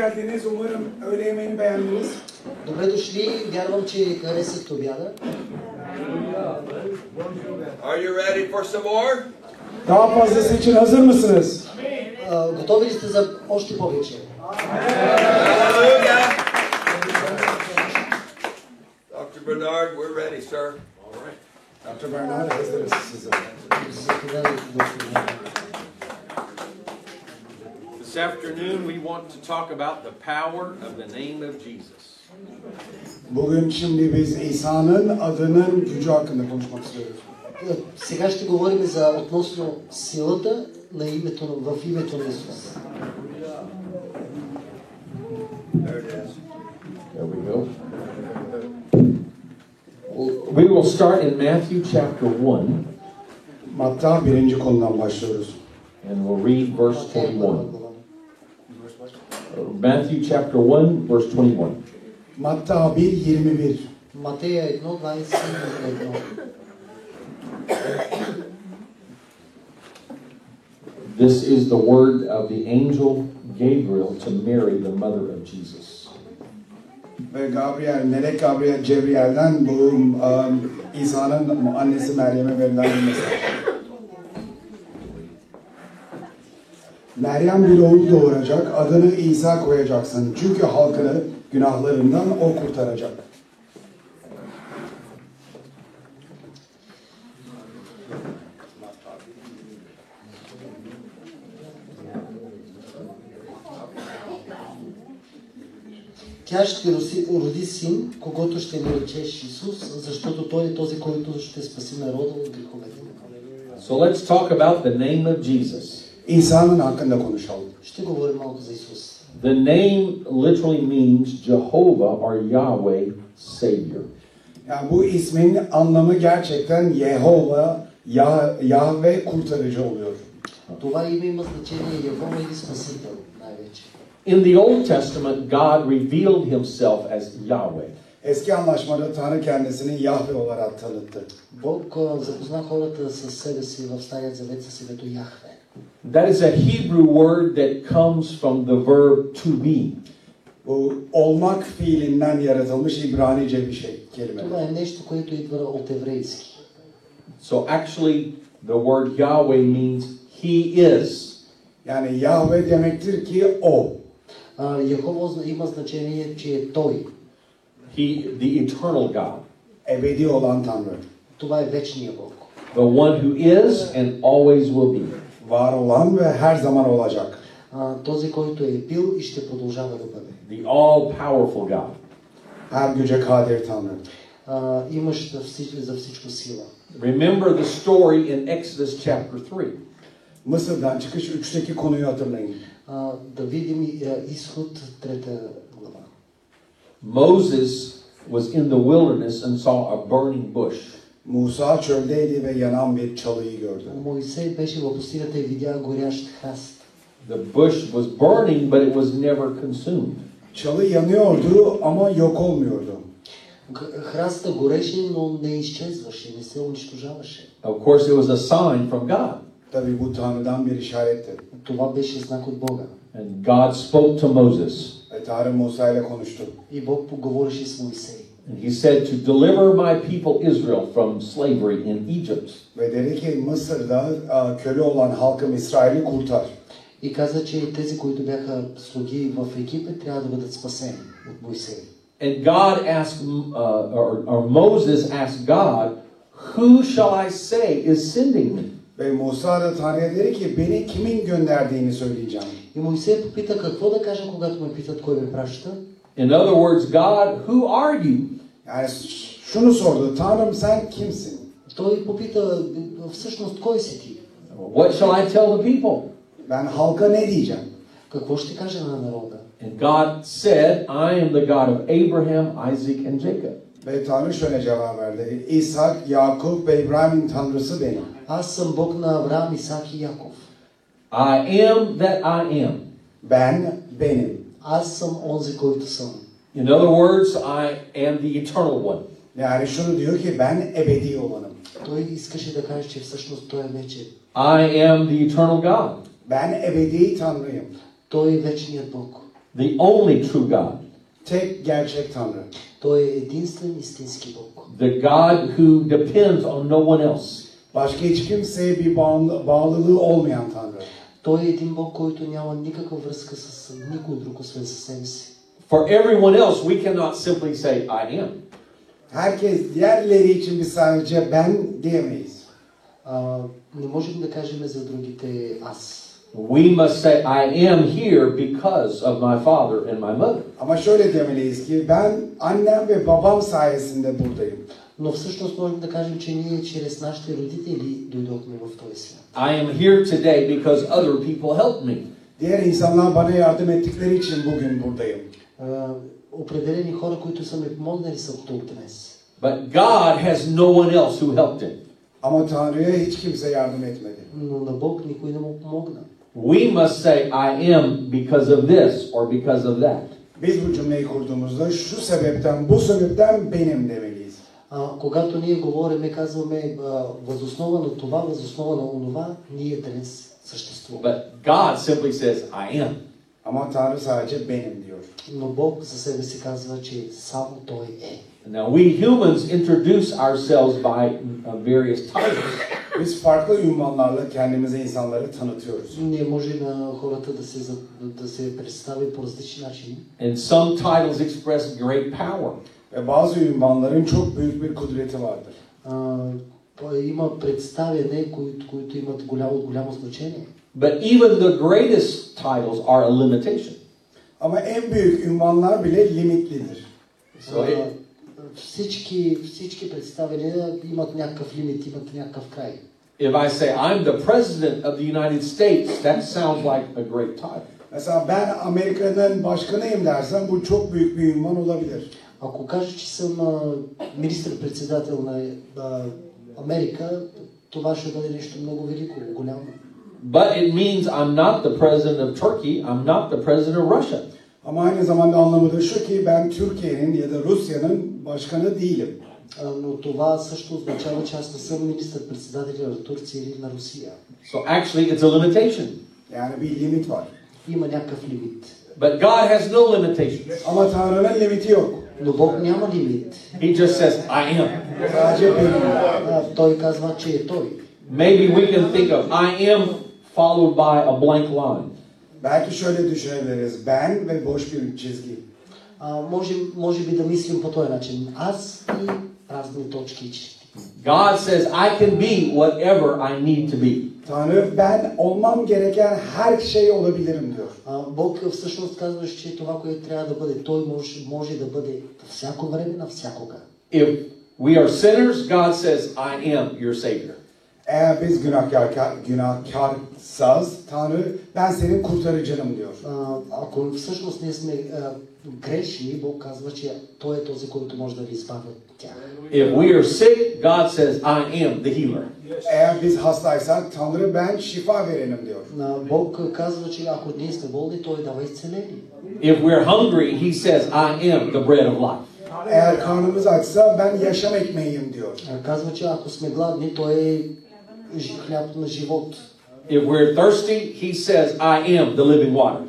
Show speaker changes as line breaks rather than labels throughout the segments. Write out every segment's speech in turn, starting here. geldiniz. Umarım öğle yemeğini beğendiniz.
Добре дошли. Вярвам, че харесахте обяда.
Are you ready for some more?
Daha fazlası için hazır mısınız?
А, Готови ли сте за още повече?
Hallelujah. Dr. Bernard, we're ready, sir.
Dr. Bernard hazırız size.
Заповядайте, доктор.
This afternoon, we want to talk about the power of the name of Jesus.
Bugün şimdi biz İsa'nın adının gücü hakkında konuşmak istiyoruz.
А, Сега ще говорим за относно силата на името, на- в името на Исус.
There it is.
There we go. Well, We will start in Matthew chapter 1,
Matta birinci konudan başlıyoruz.
and we'll read verse
Матей, първа
21.
глава.
Uh, Matthew chapter 1, verse 21.
Matta 1, 21.
Матея 1, 21.
This is the word of the angel Gabriel to Mary, the mother of Jesus.
Ve Gabriel, Melek Gabriel, Cebriel'den bu um, İsa'nın annesi Meryem'e verilen bir mesaj. Meryem bir oğul doğuracak, adını İsa koyacaksın. Çünkü halkını günahlarından o kurtaracak.
Тя ще роси, роди син, когато ще му речеш Исус, защото той е този, който ще спаси народа от греховете. му.
So let's talk about the name of Jesus.
İsa'nın hakkında konuşalım.
Ще говорим малко за Исус.
The name literally means Jehovah or Yahweh Savior.
Yani bu ismin anlamı gerçekten Yehova, Yah Yahve kurtarıcı oluyor.
Това име има значение Явома или Спасител най-вече.
In the Old Testament, God revealed himself as Yahweh.
Eski anlaşmada Tanrı kendisini Yahve olarak tanıttı.
Бог а, запозна хората с себе си в Стария Завет с името Яхве.
That is a Hebrew word that comes from the verb to be.
Bu olmak fiilinden yaratılmış İbranice bir şey kelime.
Това е нещо, което идва от еврейски.
So actually, the word Yahweh means He is.
Yani Yahve demektir ki o.
А, Яхова зна- има значение, че е Той.
He, the eternal God,
Ebedi olan Tanrı.
Това е вечния Бог.
the one who is and always will be.
Var olan ve her zaman olacak.
А, този, който е бил и ще продължава да бъде.
The all powerful God.
Her güce kadir Tanrı.
А, имаш за всичко, за всичко сила.
Remember the story in Exodus chapter 3.
Mısır'dan çıkış 3'teki konuyu hatırlayın.
А, да видим и, а, изход трета глава.
Moses was in the wilderness and saw a burning bush.
Musa çöldeydi ve yanan bir çalıyı gördü.
Моисей беше в пустинята и видя горящ храст.
The bush was burning, but it was never consumed.
Çalı yanıyordu ama yok olmuyordu.
Г- Храста гореше, но не изчезваше, не се унищожаваше.
Of course, it was a sign from God.
Tabi bu Tanrı'dan bir işaretti.
Това беше знак от Бога.
And God spoke to Moses.
Ve E, Tanrı Musa ile konuştu.
И Бог поговореше с Моисей.
And he said, To deliver my people Israel from slavery in Egypt.
Ve dedi ki Mısır'da e, köle olan halkım İsrail'i kurtar.
И каза, че тези, които бяха слуги в Египет, трябва да бъдат спасени от Моисей.
And God asked, uh, or, or Moses asked God, Who shall I say is sending me?
Ve Musa da Tanrı'ya dedi ki beni kimin gönderdiğini söyleyeceğim.
И Моисей попита какво да кажа, когато ме питат кой ме праща.
In other words, God, who are you?
Yani ş- şunu sordu. Tanrım sen kimsin?
Той попита, всъщност кой си ти?
What shall I tell the people?
Ben halka ne diyeceğim?
Какво ще кажа на народа?
And God said, I am the God of Abraham, Isaac, and Jacob.
Ve Tanrı şöyle cevap verdi. İshak, Yakup ve İbrahim'in Tanrısı benim.
Аз съм Бог на Авраам, Исаак и Яков.
I am that I am.
Ben benim.
Аз съм онзи, който съм.
In other words, I am the eternal one.
Yani şunu diyor ki ben ebedi olanım.
Той искаше да каже, че всъщност той е вече.
I am the eternal God.
Ben ebedi Tanrıyım.
Той е вечният Бог.
the only true God,
Tek gerçek Tanrı.
Той е единствен истински Бог.
the God who depends on no one else.
Başka hiç kimseye bir bağımlı- bağlılığı olmayan Tanrı.
Той е един Бог, който няма никаква връзка с никой друг, освен със себе си.
For everyone else, we cannot simply say, I am.
Herkes diğerleri için biz sadece ben diyemeyiz.
А, не можем да кажем за другите аз.
We must say, I am here because of my father and my mother.
Ama şöyle demeliyiz ki ben annem ve babam sayesinde buradayım.
Но всъщност можем да кажем, че ние чрез нашите родители дойдохме в този свят.
I am here today because other people helped me.
Diğer insanlar bana yardım ettikleri için bugün buradayım.
А, определени хора, които са ми помогнали, са тук днес.
But God has no one else who helped him.
Ama Tanrı'ya hiç kimse yardım etmedi.
Но на Бог никой не му помогна.
We must say, I am because of this or because of that.
Biz bu cümleyi kurduğumuzda şu sebepten, bu sebepten benim demeliyiz.
А, когато ние говориме, казваме а, възоснова на това, възоснова на онова, ние днес съществуваме.
But God simply says, I am.
Ama Tanrı sadece benim diyor.
Но Бог за себе си казва, че само Той е.
Now, we humans introduce ourselves by uh, various titles.
Biz farklı ünvanlarla kendimize insanları tanıtıyoruz.
Не може на хората да се, за- да се представи по различни начини.
And some titles express great power.
Ve bazı ünvanların çok büyük bir kudreti vardır.
А, той има представяне, които, които имат голямо, голямо значение.
But even the greatest titles are a limitation.
Ama en büyük ünvanlar bile limitlidir.
So
А,
it,
всички, всички представяния имат някакъв лимит, имат някакъв край.
if I say, I'm the President of the United States, that sounds like a great title.
Mesela ben Amerika'nın başkanıyım dersen bu çok büyük bir ünvan olabilir.
Ако кажа, че съм а, министр-председател на а, Америка, това ще бъде нещо много велико, голямо.
But it means I'm not the President of Turkey, I'm not the President of Russia.
Ama aynı zamanda anlamı da şu ki ben Türkiye'nin ya da Rusya'nın başkanı değilim.
А, но това също означава, че аз не съм министр-председател на Турция или на Русия.
So actually, it's a limitation.
Yani bir limit var.
Има някакъв лимит.
But God has no limitations.
Ama Tanrı'nın limiti yok.
Но Бог няма лимит.
He just says, I am.
Sadece benim.
А, той казва, че е той.
Maybe we can think of I am followed by a blank line.
Belki şöyle düşünebiliriz. Ben ve boş bir çizgi.
А, може, може би да мислим по този начин. Аз и разни точки и черти.
God says, I can be whatever I need to be.
Tanrı ben olmam gereken her şey olabilirim diyor.
А, Бог всъщност казваше, че това, което трябва да бъде, Той може, може да бъде по всяко време, навсякога.
If we are sinners, God says, I am your Savior.
Eğer biz günahkar, günahkarsaz Tanrı ben senin kurtarıcınım diyor.
А, ако всъщност ние сме а, грешни, Бог казва, че Той е този, който може да ви избави от тях.
If we are sick, God says, I am the healer.
Eğer biz hastaysak Tanrı ben şifa verenim diyor.
А, Бог казва, че ако ние сме болни, Той дава изцеление.
If we're hungry, He says, I am the bread of life.
Eğer karnımız açsa ben yaşam ekmeğiyim diyor.
А, Казва, че ако сме гладни, Той е жи- хляб на живот.
If we're thirsty, He says, I am the living water.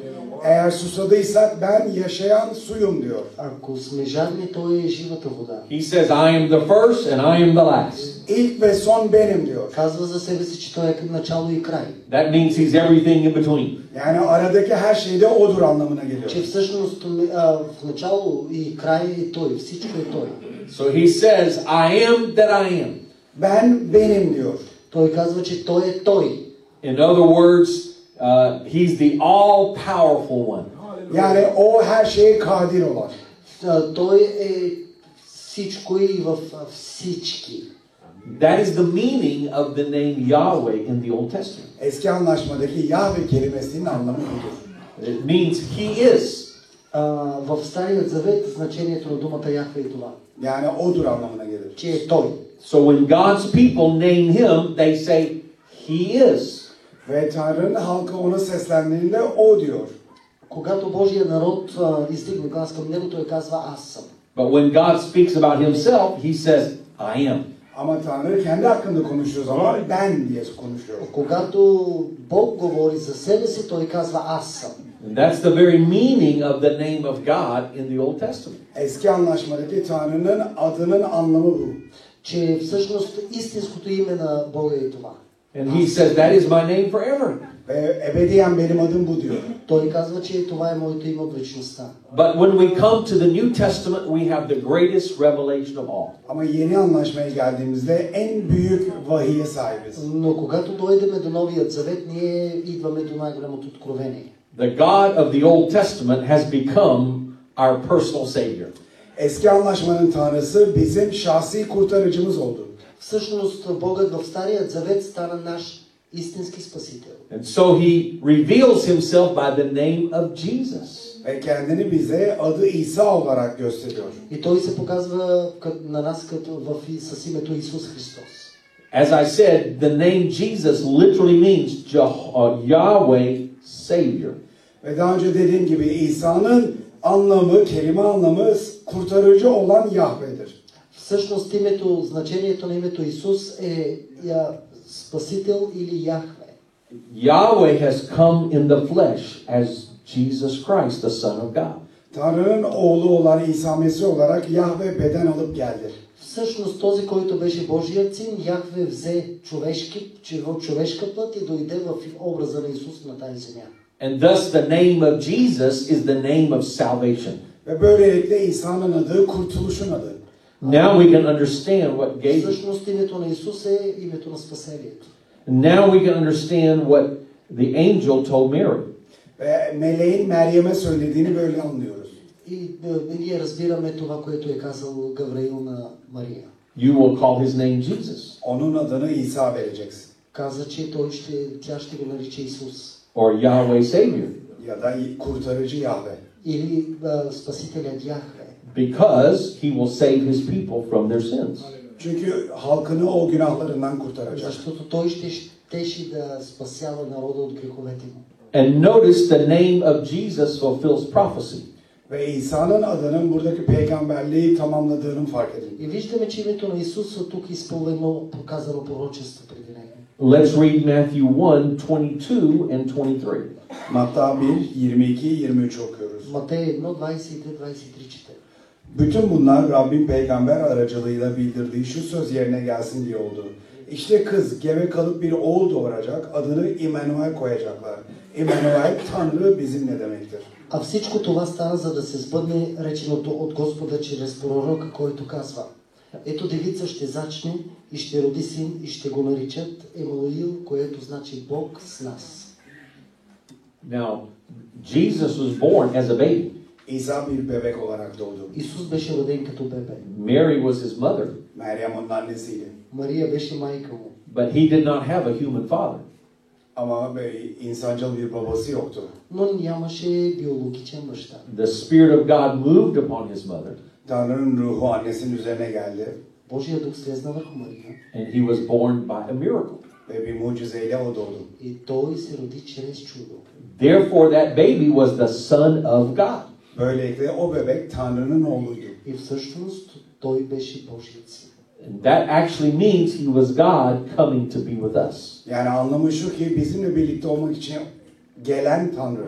Eğer susadıysak ben yaşayan suyum diyor.
Ако сме жадни, Той е живата вода.
He says, I am the first and I am the last.
İlk ve son benim diyor.
Казва за себе си, че Той е начало и край.
That means He's everything in between.
Yani aradaki her şey de odur anlamına geliyor.
че всъщност ами, а, в начало и край е той, всичко е той.
So He says, I am that I am.
Ben benim diyor.
Той казва, че той е той.
In other words, uh, He's the all powerful one.
Yani o her şeye kadir olan.
А, той е всичко и в а, всички.
That is the meaning of the name Yahweh in the Old Testament.
Eski anlaşmadaki Yahve kelimesinin anlamı budur.
It means He is.
А, в Стария завет значението на думата Яхва е това,
Yani odur anlamına gelir.
че е той.
So when God's people name Him, they say, He is.
Ve Tanrı'nın halkı ona seslendiğinde o diyor.
Когато Божия народ а, издигне глас към него, той казва аз съм.
But when God speaks about Himself, He says, I am.
Ama Tanrı kendi hakkında konuşuyor zaman ben diye konuşuyor.
Когато Бог говори за себе си, той казва аз съм.
And that's the very meaning of the name of God in the Old Testament.
Eski anlaşmadaki Tanrı'nın adının anlamı bu.
че всъщност истинското име на Бога е това.
And he says, That is my name forever.
Ve ebediyen benim adım bu diyor.
Той казва, че това е моето име в вечността.
But when we come to the New Testament, we have the greatest revelation of all.
Ama yeni anlaşmaya geldiğimizde en büyük vahiye sahibiz.
Но когато дойдем до Новият завет, ние идваме до най-голямото откровение.
The God of the Old Testament has become our personal Savior.
Eski anlaşmanın Tanrısı bizim şahsi kurtarıcımız oldu.
Всъщност Богът в Старият завет стана наш истински спасител.
And so he reveals himself by the name of Jesus.
Ve kendini bize adı İsa olarak gösteriyor.
И той се показва кът- на нас като в, И- с името Исус Христос.
As I said, the name Jesus literally means Jeho- uh, Yahweh Savior.
Ve daha önce dediğim gibi İsa'nın anlamı, kelime anlamı kurtarıcı olan Yahve'dir.
Всъщност името, значението на името Исус е я, Спасител или Яхве.
Yahweh has come in the flesh as Jesus Christ, the Son of God.
Tanrı'nın oğlu olan İsa Mesih olarak Yahve beden alıp geldi.
Всъщност този, който беше Божият син, Яхве взе човешки, чево- човешка плът и дойде в образа на Исус на тази земя.
And thus, the name of Jesus is the name of salvation.
Ve böylelikle İsa'nın adı kurtuluşun adı.
Now we can understand what Gabriel
Всъщност името на Исус е името на спасението.
Now we can understand what the angel told Mary.
Ve meleğin Meryem'e söylediğini böyle anlıyoruz.
И е, ние разбираме това, което е казал Гавраил на Мария.
You will call his name Jesus
Onun adını İsa vereceksin.
Каза, че той ще, тя ще го нарече Исус.
or Yahweh Savior
Ya da kurtarıcı Yahve.
Или а, Спасителят Яхве.
because he will save his people from their sins.
Çünkü halkını o günahlarından kurtaracak.
Защото той ще щеше да спасява народа от греховете му.
And notice the name of Jesus fulfills prophecy.
Ve İsa'nın adının buradaki peygamberliği tamamladığının fark edin.
И виждаме, че името на Исус е тук изпълнено, показано пророчество преди него.
Let's read Matthew 1 22 and 23.
Matta 1, 22, 23 okuyoruz.
Матей 1, 22, 23 чете.
Bütün bunlar Rabbin peygamber aracılığıyla bildirdiği şu söz yerine gelsin diye oldu. İşte kız gebe kalıp bir oğul doğuracak, adını İmanuel koyacaklar. İmanuel Tanrı bizimle demektir.
А всичко това стана, за да се сбъдне реченото от Господа чрез пророка, който казва Ето девица ще зачне и ще роди син и ще го наричат Емануил, което значи Бог с нас.
Now, Jesus was born as a baby,
İsa bir bebek olarak doğdu.
Исус беше роден като бебе.
Mary was his mother,
Meryem onun annesiydi.
Мария беше майка му,
but he did not have a human father.
Ama böyle insancıl bir babası yoktu.
но нямаше биологичен баща.
The Spirit of God moved upon his mother,
Tanrı'nın ruhu annesinin üzerine geldi
Божия дух слезна върху Мария
and he was born by a miracle.
ve bir mucizeyle o doğdu.
и той се роди чрез чудо.
Therefore, that baby was the Son of God.
Böylelikle o bebek Tanrı'nın oğluydu.
И всъщност той беше Божият син.
And that actually means he was God coming to be with us.
Yani anlamı şu ki bizimle birlikte olmak için gelen Tanrı.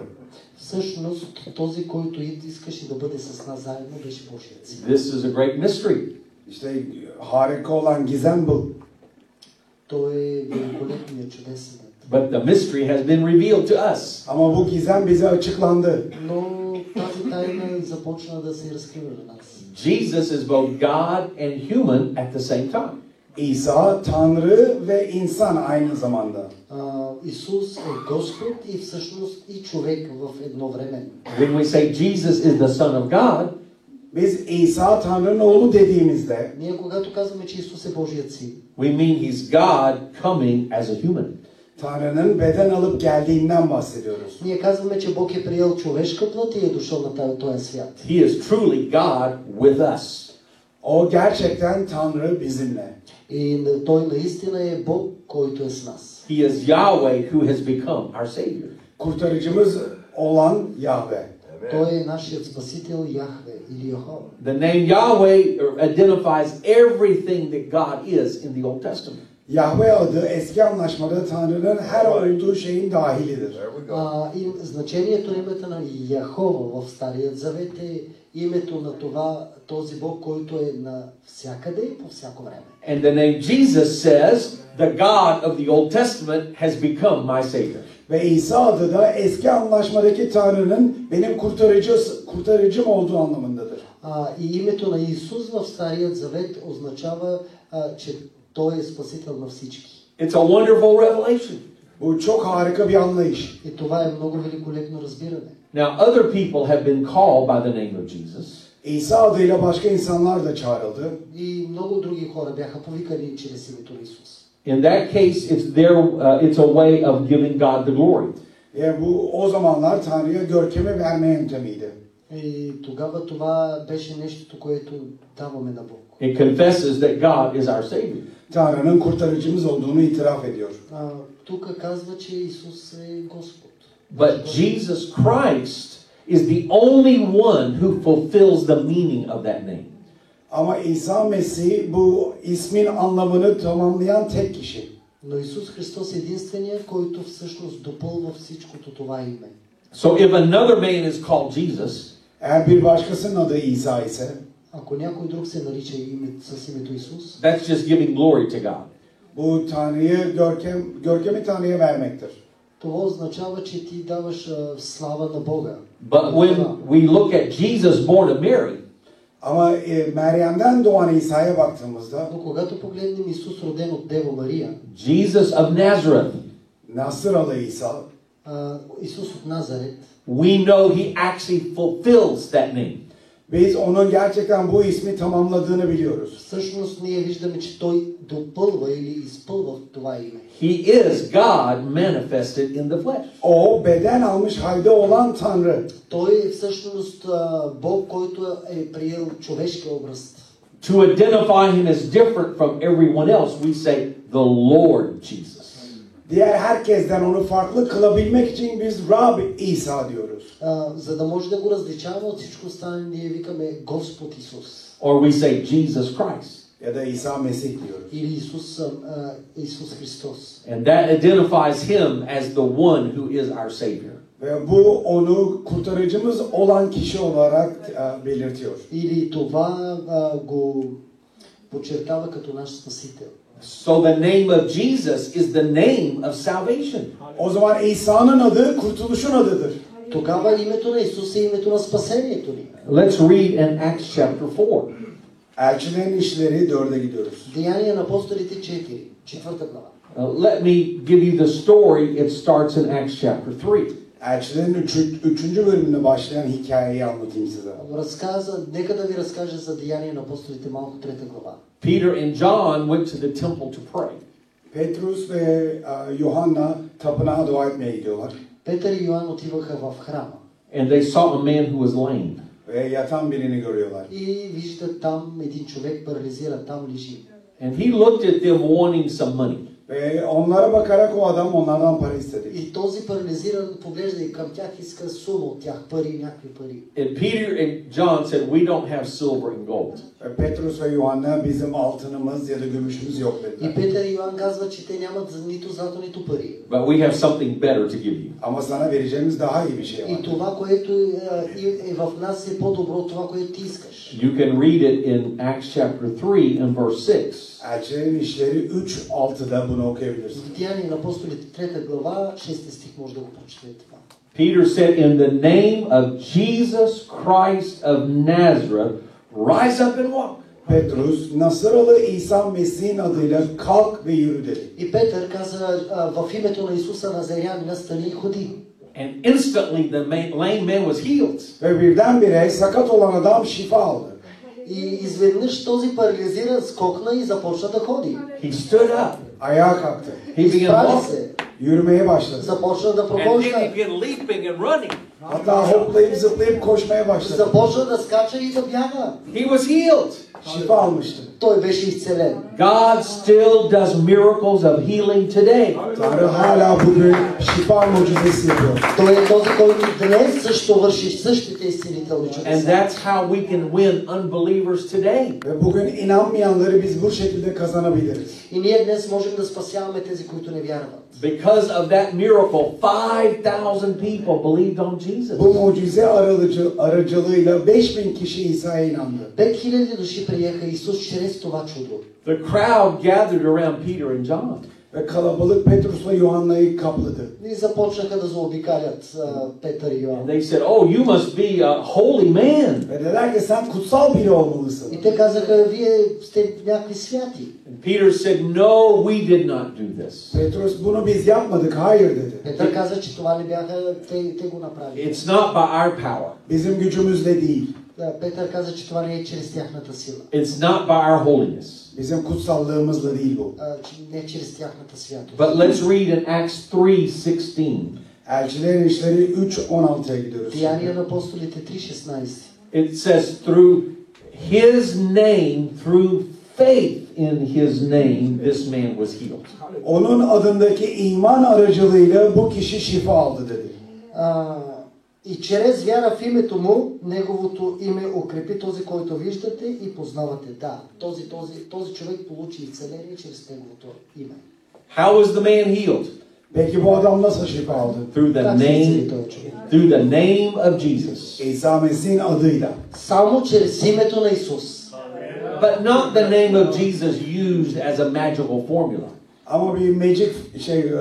Всъщност този, който искаше да бъде с нас заедно, беше Божият син.
This is a great mystery.
İşte harika olan gizem bu.
Той е великолепният чудесен.
But the mystery has been revealed to us.
Ama bu gizem bize açıklandı.
Но тази тайна е започна да се разкрива на нас.
Jesus is both God and human at the same time.
İsa Tanrı ve insan aynı zamanda.
А, Исус е Господ и всъщност и човек в едно време.
When we say Jesus is the Son of God,
Biz İsa Tanrı'nın oğlu dediğimizde
Ние когато казваме, че Исус е Божият син,
we mean he's God coming as a human.
Tanrı'nın beden alıp geldiğinden bahsediyoruz.
ние казваме, че Бог е приел човешка плът и е дошъл на тази- този свят.
He is truly God with us.
O gerçekten Tanrı bizimle.
И на- той наистина е Бог, който е с нас.
He is Yahweh who has become our Savior.
Kurtarıcımız olan Yahve.
Той е нашият спасител Яхве или Йохова.
The name Yahweh identifies everything that God is in the Old Testament.
Yahve adı eski anlaşmada Tanrı'nın her olduğu şeyin dahilidir.
There we go.
А, и значението на името на Яхова в Старият Завет е името на това, този Бог, който е навсякъде и по всяко време.
And the name Jesus says, the God of the Old Testament has become my Savior.
Ve İsa adı da eski anlaşmadaki Tanrı'nın benim kurtarıcı, kurtarıcım olduğu anlamındadır.
А, и името на Исус в Старият Завет означава, а, че Той е Спасител на всички.
It's a wonderful revelation.
Bu çok harika bir anlayış.
И това е много великолепно разбиране.
Now, other people have been called by the name of Jesus,
İsa adıyla başka insanlar da çağrıldı.
И много други хора бяха повикани чрез името на Исус.
In that case, it's their, uh, it's a way of giving God the glory.
Ve bu o zamanlar Tanrı'ya görkemi verme yöntemiydi.
И тогава това беше нещото, което даваме на Бог.
It confesses that God is our Savior.
Tanrı'nın kurtarıcımız olduğunu itiraf ediyor.
А, тук казва, че Исус е Господ.
But Jesus Christ is the only one who fulfills the meaning of that name.
Ama İsa Mesih bu ismin anlamını tamamlayan tek kişi.
Но Исус Христос е единственият, който всъщност допълва всичкото това име.
So if another man is called Jesus,
Eğer bir başkasının adı İsa ise
Ако някой друг се нарича име, с името Исус,
that's just giving glory to God.
bu Tanrı'ya görkem, görkemi Tanrı'ya vermektir.
това означава, че ти даваш а, слава на Бога.
But when we look at Jesus born of Mary,
Ama e, Meryem'den doğan İsa'ya baktığımızda
Но когато погледнем Исус роден от Дева Мария,
Jesus of Nazareth,
Nasıralı İsa
а, Исус от Назарет,
we know he actually fulfills that name.
biz onun gerçekten bu ismi tamamladığını biliyoruz.
всъщност ние виждаме, че Той допълва или изпълва това име.
He is God manifested in the flesh.
O beden almış halde olan Tanrı.
Той е всъщност а, Бог, който е приел човешки образ.
To identify him as different from everyone else, we say the Lord Jesus.
Diğer herkesten onu farklı kılabilmek için biz Rab İsa diyoruz.
А, за да може да го различаваме от всичко останало, ние викаме Господ Исус
Or we say Jesus Christ.
Ya da İsa Mesih diyoruz.
или Исус, а, а, Исус Христос.
And that identifies him as the one who is our Savior.
Ve bu onu kurtarıcımız olan kişi olarak e, belirtiyor.
Или това а, го подчертава като наш Спасител.
So the name of Jesus is the name of salvation.
O zaman İsa'nın adı kurtuluşun adıdır.
Тогава името на Исус е името на спасението ни.
Let's read in Acts chapter 4.
Elçilerin işleri dörde gidiyoruz.
Деяния на апостолите 4, четвърта глава.
Uh, let me give you the story. It starts in Acts chapter 3.
Elçilerin üçü, üçüncü bölümünde başlayan hikayeyi anlatayım size.
Разказа, нека да ви разкажа за Деяния на апостолите малко трета глава.
Peter and John went to the temple to pray.
Petrus ve e, Yohanna tapınağa dua etmeye gidiyorlar.
Петър и Йоан отиваха в храма
And they saw a man who was lame.
Ve yatan birini görüyorlar.
и виждат там един човек парализиран, там лежи.
And he looked at them wanting some money.
Ve onlara bakarak o adam onlardan para istedi.
И този парализиран поглежда и към тях иска сума от тях, пари, някакви пари.
And Peter and John said, We don't have silver and gold.
Ve E, Petrus ve Yohanna bizim altınımız ya da gümüşümüz yok
И
dediler.
Петър и Йоан казват, че те нямат нито злато, нито пари.
But we have something better to give you.
Ama sana vereceğimiz daha iyi bir şey var.
И това, което е, е, е в нас е по-добро от това, което ти искаш.
You can read it in Acts chapter 3 and verse 6.
Elçilerin işleri 3.6'da bunu
В
okuyabilirsin.
Деяния на апостолите 3 глава, 6 стих може да го прочетете това.
Peter said, In the name of Jesus Christ of Nazareth, rise up and walk.
Petrus, Nasıralı İsa Mesih'in adıyla kalk ve yürü dedi.
И Петър каза а, в името на Исуса Назарянина стани и ходи.
And instantly the man, lame man was healed.
Ve birdenbire sakat olan adam şifa aldı.
И изведнъж този парализиран скокна и започна да ходи.
He stood up.
Ayağa kalktı.
He began
Изправи
walking.
се,
Yürümeye başladı.
започна да
And then he
прохожда
began leaping and running.
Hatta hoplayıp zıplayıp koşmaya başladı.
Започна да скача и да бяга.
He was healed.
Şifa almıştı.
Той беше изцелен.
God still does miracles of healing today.
Tanrı hala bugün şifa mucizesi yapıyor.
Той е този, който днес също върши същите изцелителни
And
чудеса.
that's how we can win unbelievers today.
Ve bugün inanmayanları biz bu şekilde kazanabiliriz.
И ние днес можем да спасяваме тези, които не вярват.
Because of that miracle, 5,000 people believed on Jesus.
Bu mucize aracı, aracılığıyla 5000 kişi İsa'ya inandı.
5000 души приеха Исус чрез това чудо.
The crowd gathered around Peter and John.
Ve kalabalık Petrus'la Yuhanna'yı kapladı.
И започнаха да заобикалят а, Петър и
And
Йоан.
they said, Oh, you must be a holy man.
Ve dediler ki sen kutsal biri olmalısın.
И те казаха, вие сте някакви святи.
And Peter said, No, we did not do this.
Petrus bunu biz yapmadık, hayır dedi.
Петър каза, че това не бяха, те, те го направили.
It's not by our power,
Bizim gücümüzle değil,
Да, Петър каза, че това не е чрез тяхната сила.
it's not by our holiness.
bizim kutsallığımızla değil bu.
А, че- не е чрез тяхната святост.
But let's read in Acts 3 16.
Elçilerin işleri 3.16'ya gidiyoruz.
Деяния на апостолите 3.16.
It says, through his name, through faith in his name, this man was healed.
Onun adındaki iman aracılığıyla bu kişi şifa aldı dedi.
А, и чрез вяра в името му, неговото име укрепи този, който виждате и познавате. Да, този, този, този човек получи изцеление чрез неговото име.
How was the man healed?
Peki bu adam nasıl şifa aldı?
Through the
Как се изцели
name,
този човек?
through the name of Jesus.
İsa Mesih'in adıyla.
Само чрез името на Исус.
But not the name of Jesus used as a magical formula.
Ama bir magic şey e,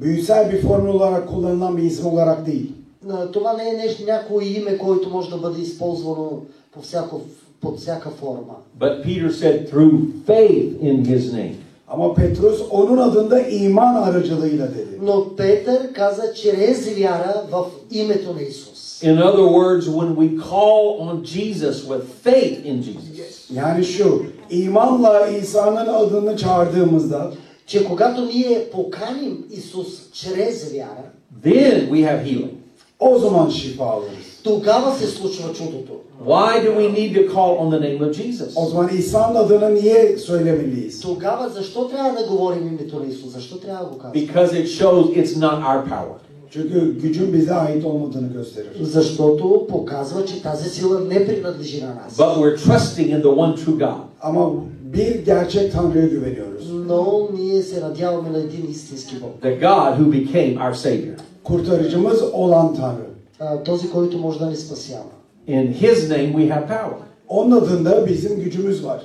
büyüsel bir formül olarak kullanılan bir isim olarak değil.
А, Това не е нещо, някое име, което може да бъде използвано по всяко, под всяка форма.
But Peter said, through faith in his name.
Ama Petrus onun adında iman aracılığıyla dedi.
Но Петър каза чрез вяра в името на Исус.
In other words, when we call on Jesus with faith in Jesus,
Yani şu, imanla İsa'nın adını çağırdığımızda
Че когато ние поканим Исус чрез вяра,
then we have healing.
o zaman şifa alırız.
тогава се случва чудото.
Why do we need to call on the name of Jesus?
O zaman İsa'nın adını niye söylemeliyiz?
Тогава защо трябва да говорим името на Исус? Защо трябва да го казваме?
Because it shows it's not our power.
Çünkü gücün bize ait olmadığını gösterir.
Защото показва, че тази сила не принадлежи на нас.
But we're trusting in the one true God.
Ama bir gerçek Tanrı'ya güveniyoruz.
Но ние се надяваме на един истински Бог.
The God who became our Savior.
Kurtarıcımız olan Tanrı.
А, Този, който може да ни спасява.
In His name we have power.
Onun adında bizim gücümüz var.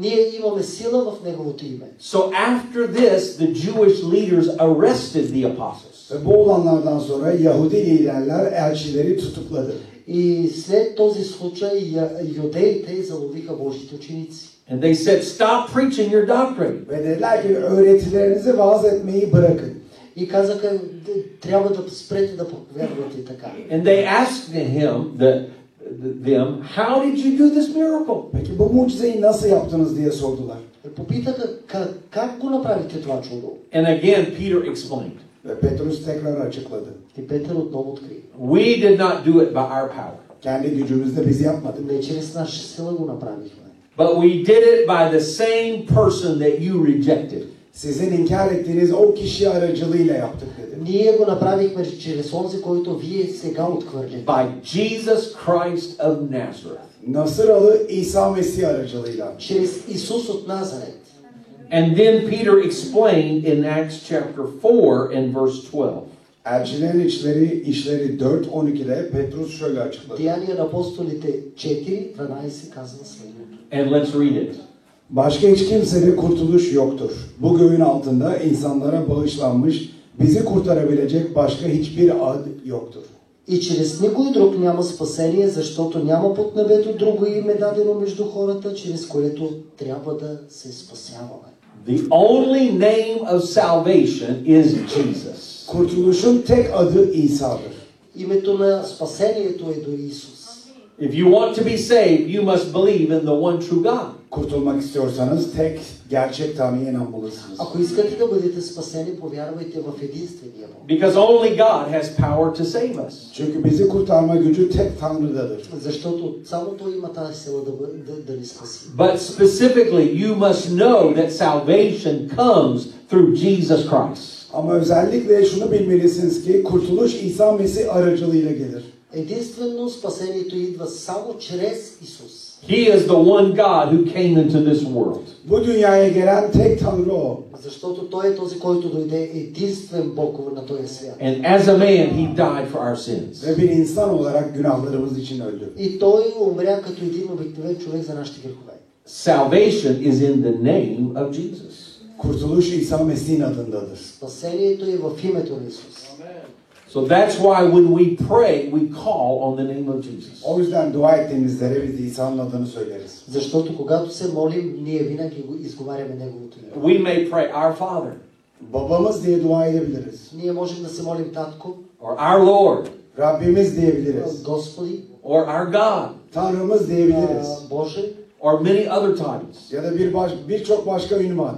Ние имаме сила в Неговото име.
So after this, the Jewish leaders arrested the apostles.
Ve bu olanlardan sonra Yahudi liderler elçileri tutukladı.
И след този случай я- юдеите заловиха Божите ученици.
And they said, Stop preaching your doctrine.
Ve dediler ki öğretilerinizi vaaz etmeyi bırakın.
И казаха, «Д- трябва да спрете да проповядвате така.
And they asked him, the, them, How did you do this miracle?
Peki bu mucizeyi nasıl yaptınız diye sordular.
Попитаха, как, как го направите това чудо?
And again, Peter explained,
Ve Petrus tekrar açıkladı.
И Петър отново откри.
We did not do it by our power,
Kendi gücümüzle biz yapmadık.
Не чрез наша сила го направихме.
but we did it by the same person that you rejected.
Sizin inkar ettiğiniz o kişi aracılığıyla yaptık dedi.
Ние го направихме чрез онзи, който вие сега отхвърляте.
By Jesus Christ of Nazareth.
Nasıralı İsa Mesih aracılığıyla.
Чрез Исус от Назарет.
And then Peter explained in Acts chapter 4 and verse 12.
Elçilerin işleri, işleri 4.12'de Petrus şöyle açıkladı.
Деяния на апостолите 4.12 казва следното.
And let's read it.
Başka hiç kimsede kurtuluş yoktur. Bu göğün altında insanlara bağışlanmış, bizi kurtarabilecek başka hiçbir ad yoktur.
И чрез никой друг няма спасение, защото няма под небето друго име дадено между хората, чрез което трябва да се спасяваме.
The only name of salvation is Jesus.
Kurtuluşun tek adı İsa'dır.
Името на спасението е до Исус.
If you want to be saved, you must believe in the one true God.
Kurtulmak istiyorsanız tek gerçek Tanrı'ya inanmalısınız.
Ако искате да бъдете спасени, повярвайте в единствения Бог.
Because only God has power to save us.
Çünkü bizi kurtarma gücü tek Tanrı'dadır.
Защото само Той има тази сила да, бъ- да, да ни спаси.
But specifically, you must know that salvation comes through Jesus Christ.
Ama özellikle şunu bilmelisiniz ki kurtuluş İsa Mesih aracılığıyla gelir.
Единствено спасението идва само чрез Исус.
He is the one God who came into this world.
Bu dünyaya gelen tek Tanrı o.
Защото Той е този, който дойде единствен Бог на този свят.
And as a man, he died for our sins.
Ve bir insan olarak günahlarımız için öldü.
И Той умря като един обикновен човек за нашите грехове.
Salvation is in the name of Jesus.
Kurtuluş İsa Mesih'in adındadır.
Спасението е в името на Исус.
So that's why when we pray, we call on the name of Jesus.
O yüzden dua ettiğimizlere biz İsa'nın adını söyleriz.
Защото когато се молим, ние винаги го изговаряме Неговото име.
We may pray, Our Father,
Babamız diye dua edebiliriz.
Ние можем да се молим Татко,
or Our Lord,
Rabbimiz diyebiliriz.
Господи,
or Our God,
Tanrımız diyebiliriz.
а, Боже.
or many other titles.
Ya da bir baş, birçok başka ünvan.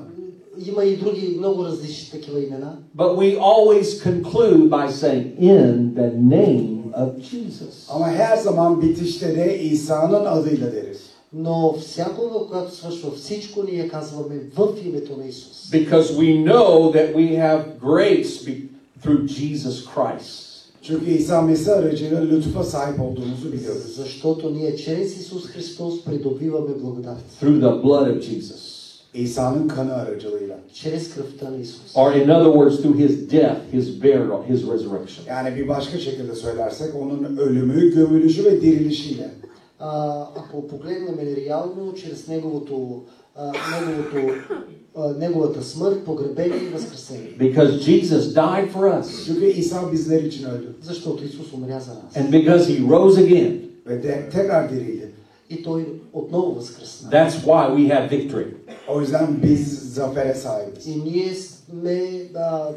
Има и други много различни такива имена.
But we always conclude by saying, In the name of Jesus.
Ama her zaman bitişte de İsa'nın adıyla deriz.
Но всякога, когато свършва всичко, ние казваме в името на Исус.
Because we know that we have grace be- through Jesus Christ.
Çünkü İsa Mesih aracıyla lütfa sahip olduğumuzu biliyoruz.
Защото ние чрез Исус Христос придобиваме благодат.
Through the blood of Jesus.
İsa'nın kanı aracılığıyla.
Чрез кръвта на Исус.
Or, in other words, through his death, his burial, his resurrection.
Yani bir başka şekilde söylersek onun ölümü, gömülüşü ve dirilişiyle.
А, ако погледнем реално, чрез неговото, а, неговото, а, неговата смърт, погребение и възкресение.
Because Jesus died for us.
Çünkü İsa bizler için öldü
Защото Исус умря за нас.
And because he rose again,
ve de, tekrar dirildi.
И Той отново възкръсна.
that's why we have victory.
O yüzden biz zafere sahibiz.
И ние сме а,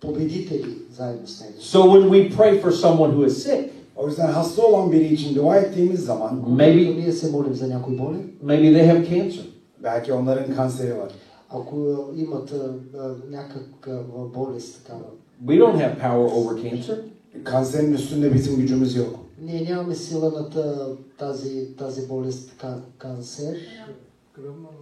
победители заедно с Него.
So when we pray for someone who is sick,
O yüzden hasta olan biri için dua ettiğimiz zaman
Когато
maybe
ние се молим за някой болен,
maybe they have cancer.
belki onların kanseri var.
ако имат а, а, някаква болест такава,
We don't have power over cancer.
Kanserin üstünde bizim gücümüz yok.
ние нямаме сила над а, тази, тази болест, ка- канцер,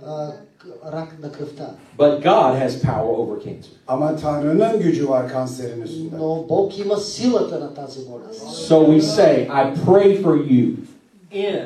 а, к- рак на кръвта.
But God has power over cancer.
Ama Tanrı'nın gücü var kanserin üstünde.
Но Бог има силата на тази болест.
So we say, I pray for you in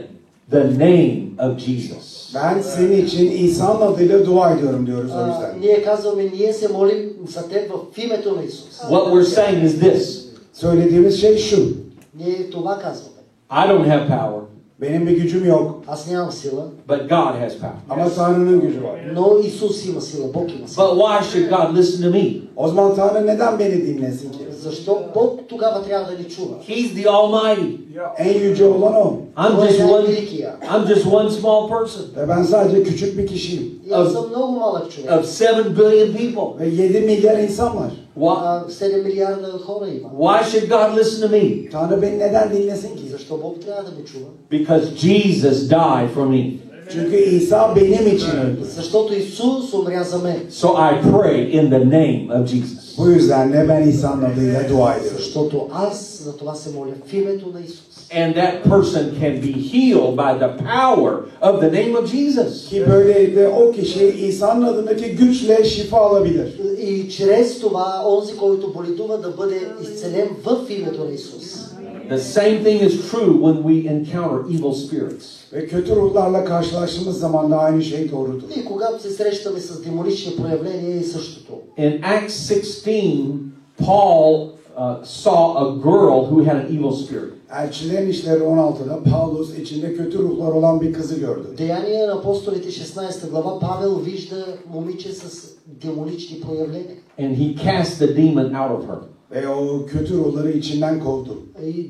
the name of Jesus.
Ben senin için İsa'nın adıyla dua ediyorum diyoruz o
А,
yüzden.
ние казваме, ние се молим за теб в името на Исус.
What we're saying is this
Söylediğimiz şey şu.
Ние това казваме.
I don't have power,
Benim bir gücüm yok
Аз нямам сила,
but God has power.
ama Tanrı'nın gücü var.
но Исус има сила, Бог има сила.
But why should God listen to me?
O zaman Tanrı neden beni dinlesin ki?
Защо Бог тогава трябва да ни чува?
He's the Almighty.
En yüce olan o.
I'm
Той е
just one
най-великия.
I'm just one small person
Ve ben sadece küçük bir kişiyim.
И Аз съм много малък човек.
of seven billion people.
Ve 7 milyar insan var.
Why
А, 7 милиарда хора има.
why should God listen to me?
Tanrı beni neden dinlesin ki?
Защо Бог трябва да ме чува?
Because Jesus died for me.
Çünkü İsa benim için öldü.
Защото Исус умря за мен.
So I pray in the name of Jesus.
Bu yüzden de ben İsa'nın adıyla dua ediyorum.
Защото аз за това се моля в името на Исус.
And that person can be healed by the power of the name of Jesus.
Ki böylelikle o kişi İsa'nın adındaki güçle şifa alabilir.
И чрез това, онзи, който боледува, да бъде изцелен в името на Исус.
The same thing is true when we encounter evil spirits.
Ve kötü ruhlarla karşılaştığımız zaman da aynı şey doğrudur.
И когато се срещаме с демонични проявления е същото.
In Acts 16, Paul uh, saw a girl who had an evil spirit.
Elçilerin İşleri 16'da Paulus içinde kötü ruhlar olan bir kızı gördü.
Деяния на апостолите 16 глава Павел вижда момиче с демонични проявления.
And he cast the demon out of her.
Ve o kötü ruhları içinden kovdu.
И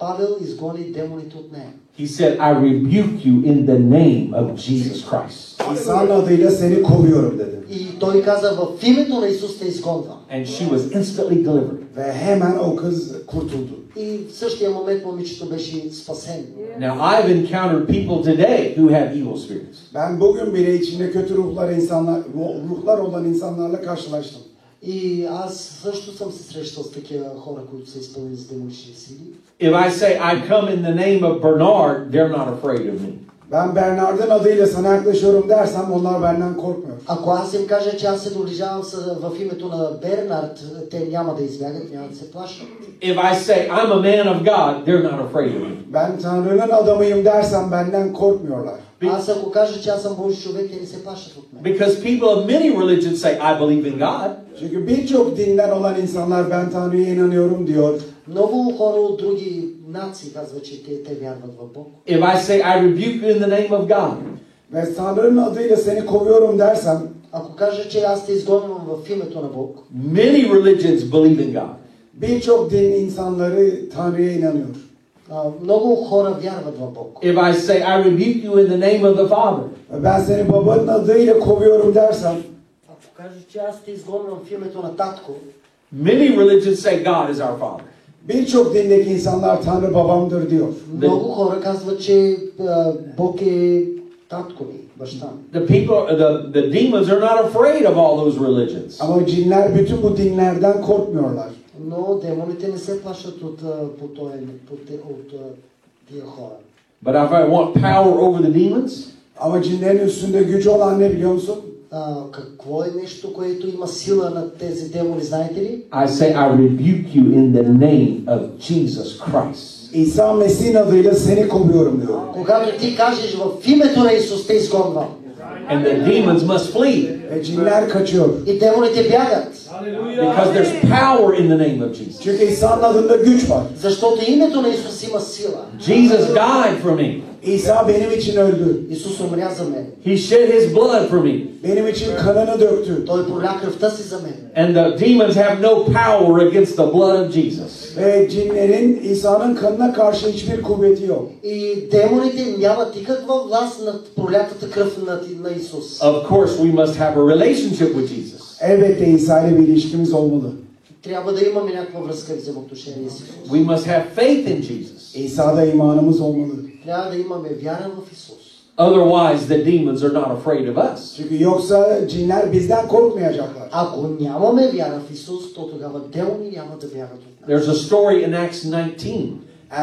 Павел изгони демоните от нея.
He said, I rebuke you in the name of Jesus Christ.
İsa'nın adıyla seni kovuyorum dedi.
И той каза, в името на Исус те изгонвам.
And she was instantly delivered.
Ve hemen o kız kurtuldu.
И в същия момент момичето беше спасено.
Now, I've encountered people today who have evil spirits.
Ben bugün bile içinde kötü ruhlar insanlar, ruhlar olan insanlarla karşılaştım.
И аз също съм се срещал с такива хора, които са изпълнени с демонични сили.
If I say, I come in the name of Bernard, they're not afraid of me.
Ben Bernard'ın adıyla sana yaklaşıyorum dersem onlar benden korkmuyor.
Ако аз им кажа, че аз се доближавам с- в името на Бернард, те няма да избягат, няма да се плашат.
If I say, I'm a man of God, they're not afraid of me.
Ben Tanrı'nın adamıyım dersem benden korkmuyorlar.
Аз ако кажа, че аз съм Божи човек, те не се плашат от мен.
Because people of many religions say, I believe in God.
Çünkü birçok dinden olan insanlar ben Tanrı'ya inanıyorum diyor.
Много хора от други нации казват, че те, те вярват в Бог.
If I say, I rebuke you in the name of God,
Ve Tanrı'nın adıyla seni kovuyorum dersem
Ако кажа, че аз те изгонвам в името на Бог,
many religions believe in God.
birçok din insanları Tanrı'ya inanıyor.
а, много хора вярват в Бог.
If I say, I rebuke you in the name of the Father,
Ve Ben seni babanın adıyla kovuyorum dersem
Ако кажа, че аз те изгонвам в името на татко,
many religions say God is our Father.
birçok dindeki insanlar Tanrı babamdır diyor.
много хора казват, че а, Бог е татко ми, баща ми.
The people, the, the demons are not afraid of all those religions.
Ama cinler bütün bu dinlerden korkmuyorlar.
Но демоните не се плашат от, а, по този- по те- от а, тия хора.
But if I want power over the demons,
Ama cinlerin üstünde gücü olan ne biliyor musun?
А, какво е нещо, което има сила над тези демони, знаете ли?
I say, I rebuke you in the name of Jesus Christ.
İsa Mesih'in adıyla seni kovuyorum diyor.
Когато ти кажеш в името на Исус те изгонвам
And the demons must flee
Ve cinler kaçıyor.
и демоните бягат,
because there's power in the name of Jesus.
Çünkü İsa'nın adında güç var.
защото името на Исус има сила.
Jesus died for me,
İsa benim için öldü.
Исус умря за мен.
He shed His blood for me.
Benim için kanını döktü.
Той проля кръвта си за мен.
And the demons have no power against the blood of Jesus.
Ve cinlerin İsa'nın kanına karşı hiçbir kuvveti yok.
И демоните нямат никаква власт над пролятата кръв на, на Исус.
Of course, we must have a relationship with Jesus.
Elbette İsa ile bir ilişkimiz olmalı.
Трябва да имаме някаква връзка и взаимоотношение с Исус.
We must have faith in Jesus.
İsa'da imanımız olmalı.
Трябва да имаме вяра в Исус.
Otherwise, the demons are not afraid of us.
Çünkü yoksa cinler bizden korkmayacaklar.
Ако нямаме вяра в Исус, то тогава демони няма да бягат от нас.
There's a story in Acts 19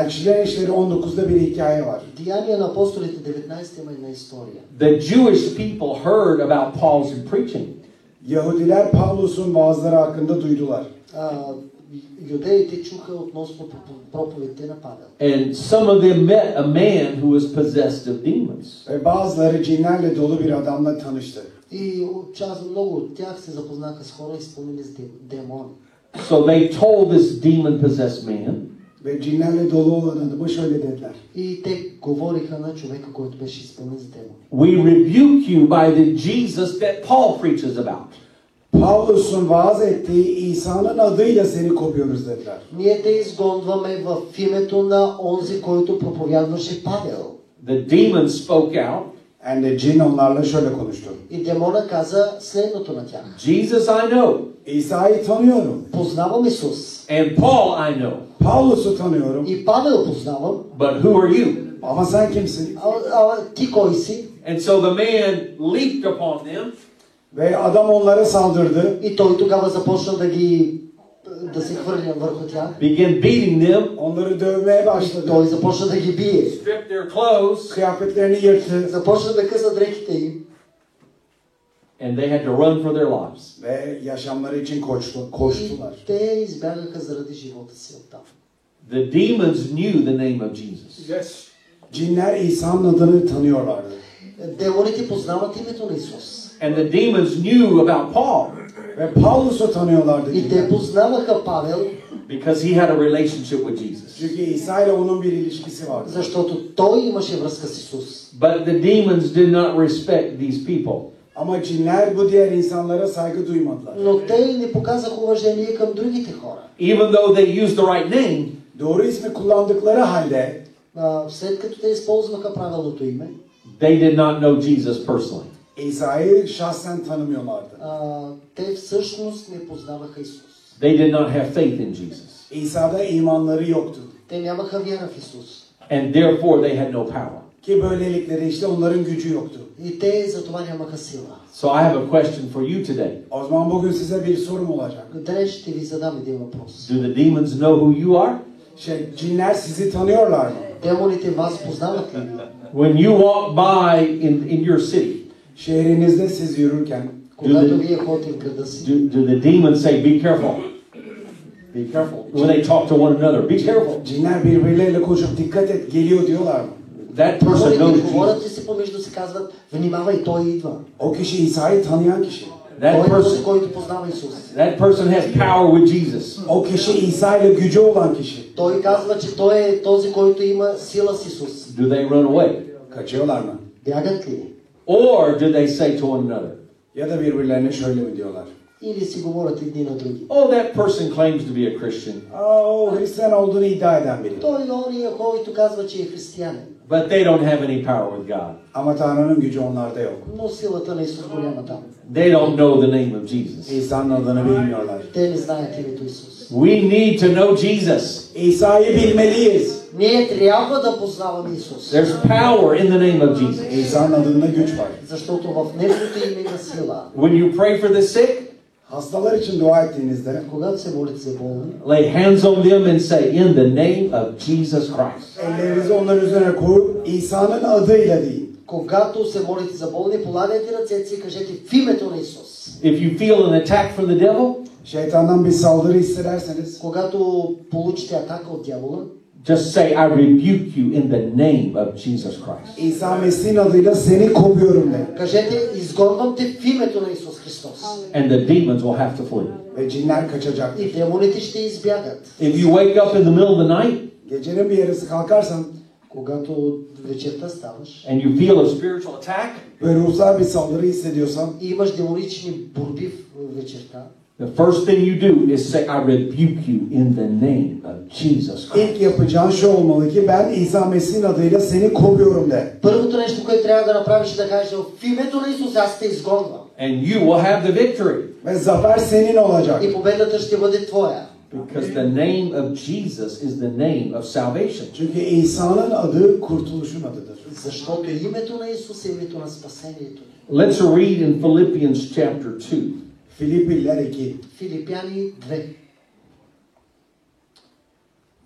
Elçiler İşleri 19'da bir hikaye var.
Деяния на апостолите 19 има една история.
The Jewish people heard about Paul's preaching,
Yahudiler Pavlus'un vaazları hakkında duydular.
А, юдеите чуха относно проп- проповедите на Павел.
and some of them met a man who was possessed of demons.
Ve bazıları cinlerle dolu bir adamla tanıştı.
И от част, много от тях се запознаха с хора, изпълнени с дем- демони.
So they told this demon possessed man,
Ve cinlerle dolu olan adama şöyle dediler.
И те говориха на човека, който беше изпълнен с демони.
We rebuke you by the Jesus that Paul preaches about.
Pavlus'un vaaz ettiği İsa'nın adıyla seni kovuyoruz dediler.
Ние те изгонваме в името на онзи, който проповядваше Павел.
The demon spoke out
And the cin onlarla şöyle konuştu.
И демона каза следното на тях.
Jesus I know,
İsa'yı tanıyorum.
Познавам Исус.
and Paul I know,
Pavlus'u tanıyorum.
И Павел познавам.
but who are you?
Ama sen kimsin?
А, а ти кой си?
And so the man leaped upon them
Ve adam onlara saldırdı.
И той тогава започна да ги да се хвърля върху тях.
began beating them,
Onları dövmeye
И
başladı.
той започна да ги бие.
stripped their clothes,
Kıyafetlerini yırttı.
Започна да къса дрехите им.
and they had to run for their lives.
Ve yaşamları için koştu,
И
koştular.
те избягаха заради живота си оттам.
The demons knew the name of Jesus.
Yes.
Cinler İsa'nın adını tanıyorlardı.
Демоните познават името на Исус.
And the demons knew about Paul
Ve Pavlus'u tanıyorlardı.
И те
cinler.
познаваха Павел,
because he had a relationship with Jesus.
Çünkü İsa ile onun bir ilişkisi vardı.
защото той имаше връзка с Исус.
But the demons did not respect these people.
Ama cinler bu diğer insanlara saygı duymadılar.
Но те не показаха уважение към другите хора.
Even though they used the right name,
Doğru ismi kullandıkları halde
А, след като те използваха правилното име,
They did not know Jesus personally.
İsa'yı şahsen tanımıyorlardı.
а, те всъщност не познаваха Исус.
They did not have faith in Jesus.
İsa'da imanları yoktu.
Те нямаха вяра в Исус.
And therefore, they had no power.
Ki böylelikle de işte onların gücü yoktu.
И те за това нямаха сила.
So I have a question for you today.
O zaman bugün size bir sorum olacak.
Днес ще ви задам един въпрос.
Do the demons know who you are?
Şey, cinler sizi tanıyorlar mı?
Демоните вас познават ли?
When you walk by in, in your city,
Şehrinizde siz yürürken
Когато вие ходите в града си,
do, do the demons say, Be careful? Be careful. When they talk to one another, Be careful.
cinler birbirleriyle konuşup dikkat et geliyor diyorlar mı?
That person knows
Говорят, говорят
Jesus.
ли си помежду си, казват, внимавай, той идва.
O kişi İsa'yı tanıyan kişi.
Той
That
е този,
person,
който познава Исус.
that person has power with Jesus.
O kişi İsa ile gücü olan kişi.
Той казва, че той е този, който има сила с Исус.
Do they run away?
Kaçıyorlar mı?
Бягат ли?
Or do they say to one another,
Ya da birbirlerine şöyle mi diyorlar?
Или си говорят едни на други?
Oh, that person claims to be a Christian,
Aa, o Hristiyan olduğunu iddia eden biri.
Той е ония, който казва, че е християнин.
but they don't have any power with God.
Ama Tanrı'nın gücü onlarda yok.
Но силата на Исус го няма там.
They don't know the name of Jesus.
İsa'nın adını bilmiyorlar.
Те не знаят името Исус.
We need to know Jesus.
İsa'yı bilmeliyiz.
Ние трябва да познаваме Исус.
There's power in the name of Jesus.
İsa'nın adında güç var.
Защото в Неговото име има сила.
When you pray for the sick,
Hastalar için dua ettiğinizde
Когато се молите за болни,
lay hands on them and say, In the name of Jesus Christ.
ellerinizi onların üzerine koyup İsa'nın adıyla deyin.
когато се молите за болни, полагайте ръцете си и кажете в името на Исус.
If you feel an attack from the devil,
Şeytandan bir saldırı hissederseniz
Когато получите атака от дявола,
just say, I rebuke you in the name of Jesus Christ.
İsa Mesih'in adıyla seni kopuyorum de.
кажете изгонвам те в името на Исус Христос.
And the demons will have to flee.
Ve cinler kaçacak.
И демоните ще избягат.
If you wake up in the middle of the night
Gecenin bir yarısı kalkarsan
Когато вечерта ставаш
and you feel a spirit,
Spiritual attack?
ve ruhsal bir saldırı hissediyorsan
и имаш демонични борби в- вечерта,
the first thing you do is say, I rebuke you in the name of Jesus Christ.
ilk yapacağın şu olmalı ki ben İsa Mesih'in adıyla seni kovuyorum de.
първото нещо, което трябва да направиш е да кажеш в името на Исус аз те изгонвам.
And you will have the victory.
Ve zafer senin olacak.
И победата ще бъде твоя.
Because the name of Jesus is the name of salvation.
Çünkü İsa'nın adı kurtuluşun adıdır.
Защото името на Исус е името на спасението. ни.
Let's read in Philippians chapter 2.
Filipliler 2.
Филипяни 2.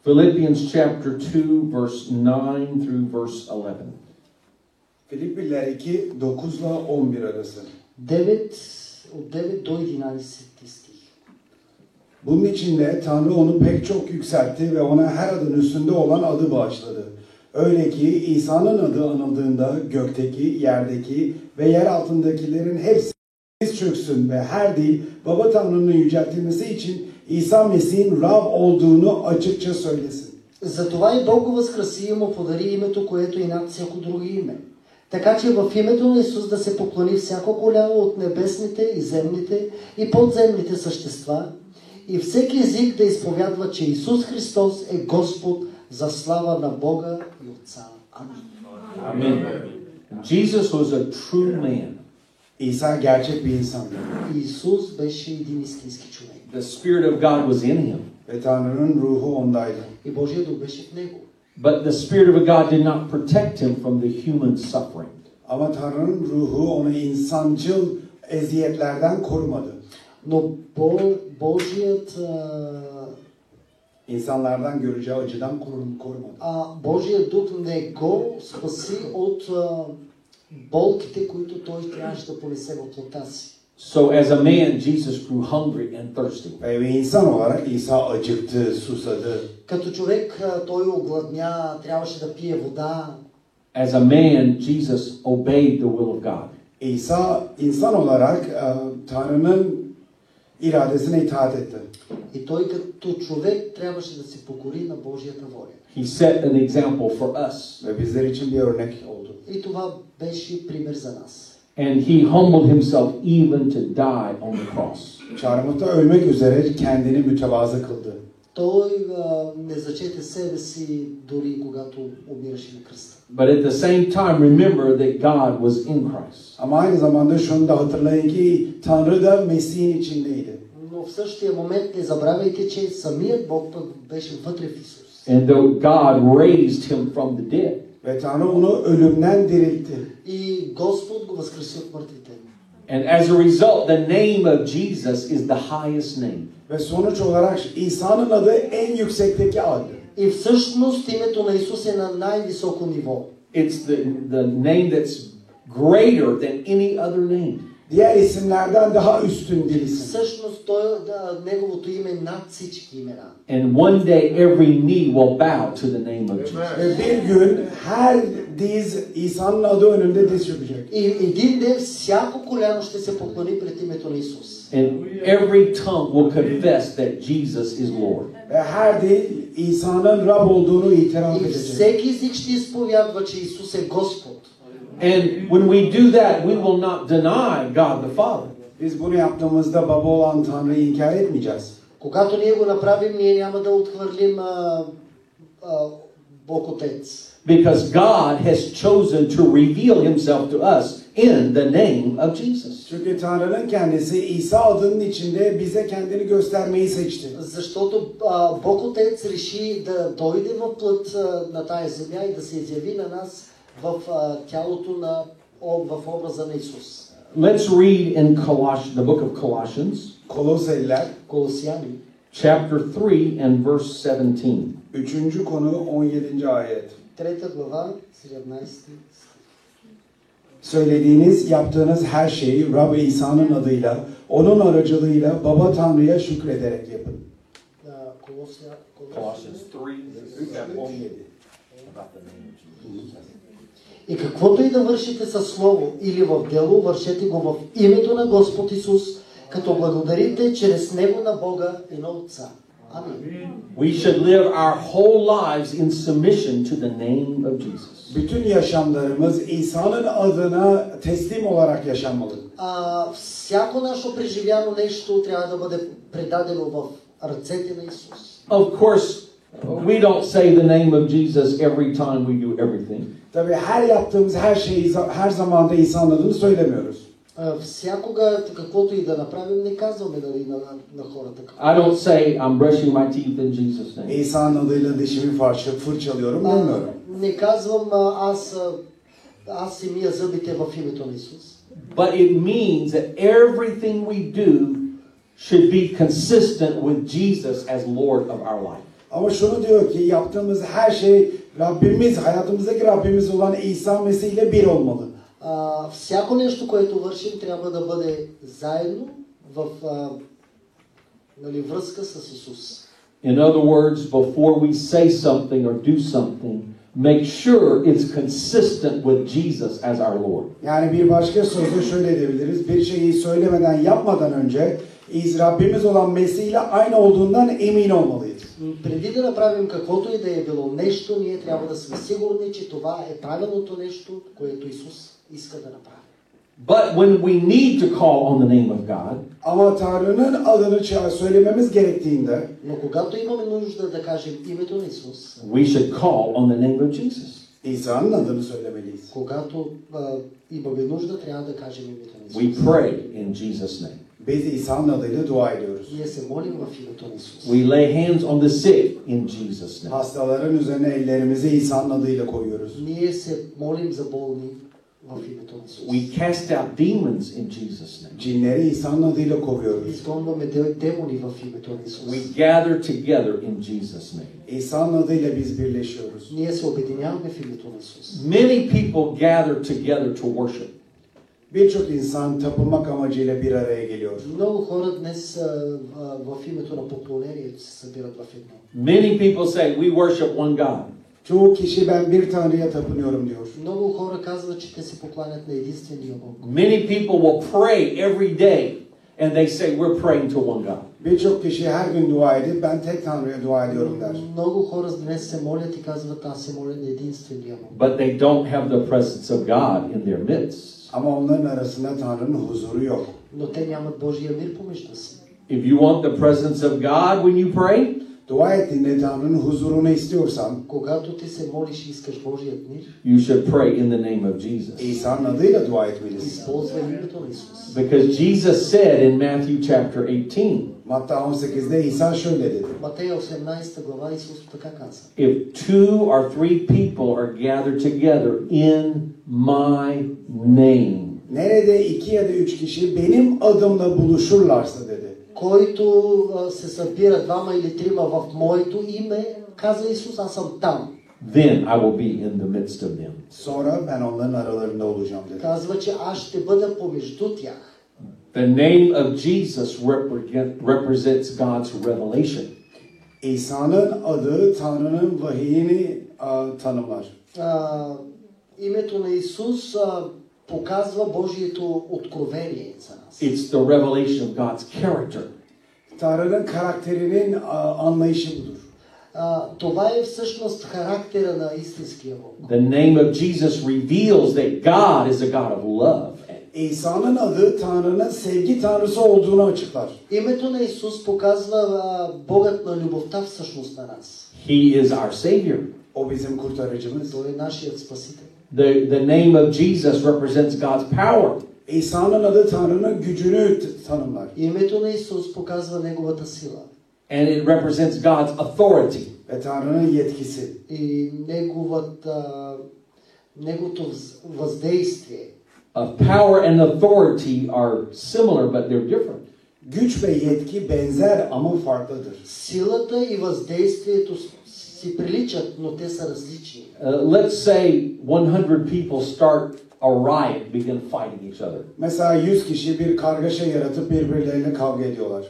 Philippians chapter 2, verse 9 through verse 11.
Filipliler 2, 9 ile 11 arası.
9, от 9 до 11 стих.
Bunun için de Tanrı onu pek çok yükseltti ve ona her adın üstünde olan adı bağışladı. Öyle ki İsa'nın adı anıldığında gökteki, yerdeki ve yer altındakilerin hepsi diz çöksün ve her dil Baba Tanrı'nın yüceltilmesi için İsa Mesih'in Rab olduğunu açıkça söylesin.
Затова и Бог го възкраси и му подари името, което е над всяко друго име. Така че в името на Исус да се поклони всяко коляно от небесните и земните и подземните същества и всеки език да изповядва, че Исус Христос е Господ за слава на Бога и Отца. Амин.
Amen. Jesus was a true man.
İsa gerçek bir insandı
Исус беше един истински човек
The Spirit of God was in him.
ve Tanrı'nın ruhu ondaydı.
и Божия дух беше в него.
But the Spirit of God did not protect him from the human suffering.
Ama Tanrı'nın ruhu onu insancıl eziyetlerden korumadı.
Но Бо- Божият а,
İnsanlardan göreceği acıdan korum- korumadı.
а Божия дух не го спаси от а, болките, които той трябваше да понесе в плота си.
So, as a man, Jesus grew hungry and thirsty.
Ve bir insan olarak İsa acıktı, susadı.
Като човек а, той огладня, трябваше да пие вода.
As a man, Jesus obeyed the will of God.
İsa insan olarak e, Tanrı'nın iradesine itaat etti.
И той като човек трябваше да се покори на Божията воля.
He set an example for us.
Ve bizler için bir örnek oldu.
И това беше пример за нас.
And he humbled himself even to die on the cross.
Çarmıhta ölmek üzere kendini mütevazı kıldı.
Той а, не зачете себе си дори когато умираше на кръста.
But at the same time, remember that God was in Christ.
Ama aynı zamanda şunu da hatırlayın ki Tanrı da Mesih'in içindeydi.
Но в същия момент не забравяйте, че самият Бог пък беше вътре в Исус.
And though God raised him from the dead,
Ve Tanrı onu ölümden diriltti.
И Господ го възкреси от мъртвите.
and as a result, the name of Jesus is the highest name.
Ve sonuç olarak İsa'nın adı en yüksekteki adı.
И всъщност името на Исус е на най-високо ниво.
It's the, the name that's greater than any other name.
Diğer isimlerden daha üstün bir isim.
Всъщност той, да, неговото име е над всички имена.
And one day, every knee will bow to the name of Jesus.
Ve bir gün her diz İsa'nın adı önünde diz çökecek.
И един ден всяко коляно ще се поклони пред името на Исус.
And every tongue will confess that Jesus is Lord.
Ve her dil İsa'nın Rab olduğunu itiraf
И
edecek.
всеки език ще изповядва, че Исус е Господ.
And when we do that, we will not deny God the Father.
Biz bunu yaptığımızda baba olan Tanrı'yı inkar etmeyeceğiz.
Когато ние го направим, ние няма да отхвърлим а, а, Бог Отец.
Because God has chosen to reveal himself to us in the name of Jesus.
Çünkü Tanrı'nın kendisi İsa adının içinde bize kendini göstermeyi seçti.
Защото а, Бог Отец реши да дойде в плът а, на тая земя и да се изяви на нас в а, тялото на о, в образа на Исус.
Let's read in Coloss- the book of Colossians,
Koloseliler
Колосяни,
chapter 3 and verse 17.
3. konu 17. ayet.
3 глава, 17 стих.
Söylediğiniz, yaptığınız her şeyi Rab İsa'nın adıyla, onun aracılığıyla Baba Tanrı'ya şükrederek yapın.
Да, Колося, Колосяни.
Colossians 3, that one about the name of Jesus.
И каквото и да вършите със слово или в дело, вършете го в името на Господ Исус, като благодарите чрез Него на Бога и на Отца. Амин.
We should live our whole lives in submission to the name of Jesus.
Bütün yaşamlarımız İsa'nın adına teslim olarak yaşanmalı.
А, всяко наше преживяно нещо трябва да бъде предадено в ръцете на Исус.
Of course, we don't say the name of Jesus every time we do everything.
Tabii her yaptığımız her şeyi her zaman da İsa'nın adını söylemiyoruz.
А, всякога, каквото и да направим, не казваме нали, на, на хората. какво.
I don't say I'm brushing my teeth in Jesus' name.
İsa'nın adıyla dişimi фарça, fırçalıyorum
А,
demiyorum.
Е, не казвам а, аз, а, аз си мия зъбите в името на Исус.
But it means that everything we do should be consistent with Jesus as Lord of our life.
Ama şunu diyor ki yaptığımız her şey Rabbimiz, hayatımızdaki Rabbimiz olan İsa Mesih ile bir olmalı.
А, всяко нещо, което вършим, трябва да бъде заедно в а, нали, връзка с Исус.
In other words, before we say something or do something, make sure it's consistent with Jesus as our Lord.
Yani bir başka sözle şöyle diyebiliriz. Bir şeyi söylemeden, yapmadan önce İz- Rabbimiz olan Mesih ile aynı olduğundan emin olmalıyız.
М, Преди да направим каквото и да е било нещо, ние трябва да сме сигурни, че това е правилното нещо, което Исус иска да направи.
But when we need to call on the name of God,
Ama Tanrı'nın adını ça- söylememiz gerektiğinde
Но когато имаме нужда да кажем името на Исус,
we should call on the name of Jesus.
İsa'nın adını söylemeliyiz.
когато а, имаме нужда, трябва да кажем името на
We
Исус.
pray in Jesus' name.
Biz İsa'nın adıyla dua ediyoruz.
Ние се молим в името на Исус.
We lay hands on the sick in Jesus' name.
Hastaların üzerine ellerimizi İsa'nın adıyla koyuyoruz.
Ние се молим за болни в името на Исус.
We cast out demons in Jesus' name.
Cinleri İsa'nın adıyla kovuyoruz.
Изгонваме де- демони в името на Исус.
We gather together in Jesus' name.
İsa'nın adıyla biz birleşiyoruz.
Ние се обединяваме в името на Исус.
Many people gather together to worship.
Birçok insan tapınmak amacıyla bir araya geliyor.
Много хора днес а, а, в името на поклонението се събират в едно.
Many people say, We worship one God.
Çoğu kişi ben bir Tanrı'ya tapınıyorum diyor.
Много хора казват, че те се покланят на единствения Бог.
Many people will pray every day and they say, We're praying to one God.
Birçok kişi her gün dua edip ben tek Tanrı'ya dua ediyorum der.
Много хора днес се молят и казват, аз се моля на единствения Бог.
But they don't have the presence of God in their midst.
Ama onların arasında Tanrı'nın huzuru yok.
Но те нямат Божия мир помежду си.
If you want the presence of God when you pray,
Dua ettiğinde Tanrı'nın huzurunu istiyorsam
Когато ти се молиш и искаш Божият мир,
you should pray in the name of Jesus.
İsa'nın adıyla dua etmelisin.
използвай името на Исус.
Because Jesus said in Matthew chapter 18,
Matta 18'de İsa şöyle dedi.
Матея 18 глава Исус така каза.
if two or three people are gathered together in my name,
Nerede iki ya da üç kişi benim adımla buluşurlarsa dedi.
Който а, се събира двама или трима в моето име, каза Исус, аз съм там.
then I will be in the midst of them.
Sonra ben onların aralarında olacağım dedi.
Казва, че аз ще бъда помежду тях.
The name of Jesus represent, represents God's revelation.
İsa'nın adı Tanrı'nın vahiyini a, tanımlar.
А, името на Исус а, показва Божието откровение за нас.
It's the revelation of God's character.
Tanrı'nın karakterinin a, anlayışı budur.
А, това е всъщност характера на истинския Бог.
The name of Jesus reveals that God is a God of love.
İsa'nın adı Tanrı'nın sevgi Tanrısı olduğunu açıklar.
Името на Исус показва а, Богът на любовта всъщност на нас.
He is our Savior.
O bizim kurtarıcımız.
Той е нашият Спасител.
The, the name of Jesus represents God's power.
İsa'nın adı Tanrı'nın gücünü t- tanımlar.
Името на Исус показва Неговата сила
And it represents God's authority.
Ve Tanrı'nın yetkisi.
и неговата, Неговото вз- въздействие.
Of power and authority are similar, but they're different.
Güç ve yetki benzer ama farklıdır.
Силата и въздействието с- си приличат, но те са различни.
Uh, let's say 100 people start a riot, begin fighting each other.
Mesela 100 kişi bir kargaşa yaratıp birbirlerine kavga ediyorlar.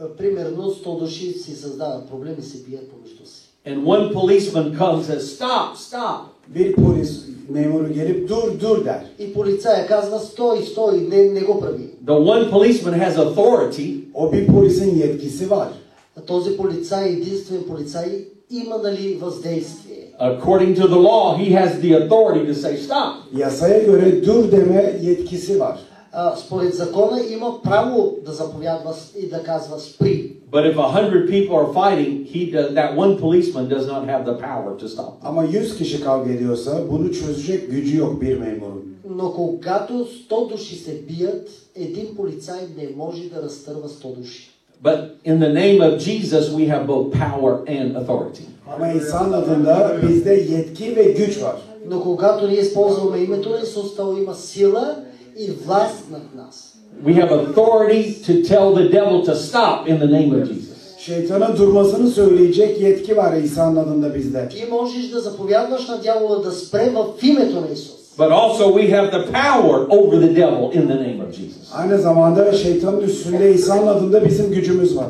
А, Примерно 100 души си създават проблеми и се бият помежду си.
And one policeman comes and says, Stop, stop.
Bir polis memuru gelip dur dur der.
И полицая казва стой, стой, не, не го прави.
The one policeman has authority,
O bir polisin yetkisi var.
А Този полицай, единствен полицай, има нали въздействие.
according to the law, he has the authority to say, Stop.
Yasaya göre dur deme yetkisi var.
А, според закона има право да заповядва с- и да казва спри.
But if 100 people are fighting, he does, that one policeman does not have the power to stop. them.
Ama 100 kişi kavga ediyorsa bunu çözecek gücü yok bir memurun.
Но когато 100 души се бият, един полицай не може да разтърва 100 души.
But in the name of Jesus, we have both power and authority.
Ama insan adında bizde yetki ve güç var.
Но когато ние използваме името на Исус, то има сила и власт над нас.
We have authority to tell the devil to stop in the name of Jesus.
Şeytana durmasını söyleyecek yetki var İsa'nın adında bizde.
Ти можеш да заповядваш на дявола да спре в името на Исус.
But also, we have the power over the devil in the name of Jesus.
Aynı zamanda şeytanın üstünde İsa'nın adında bizim gücümüz var.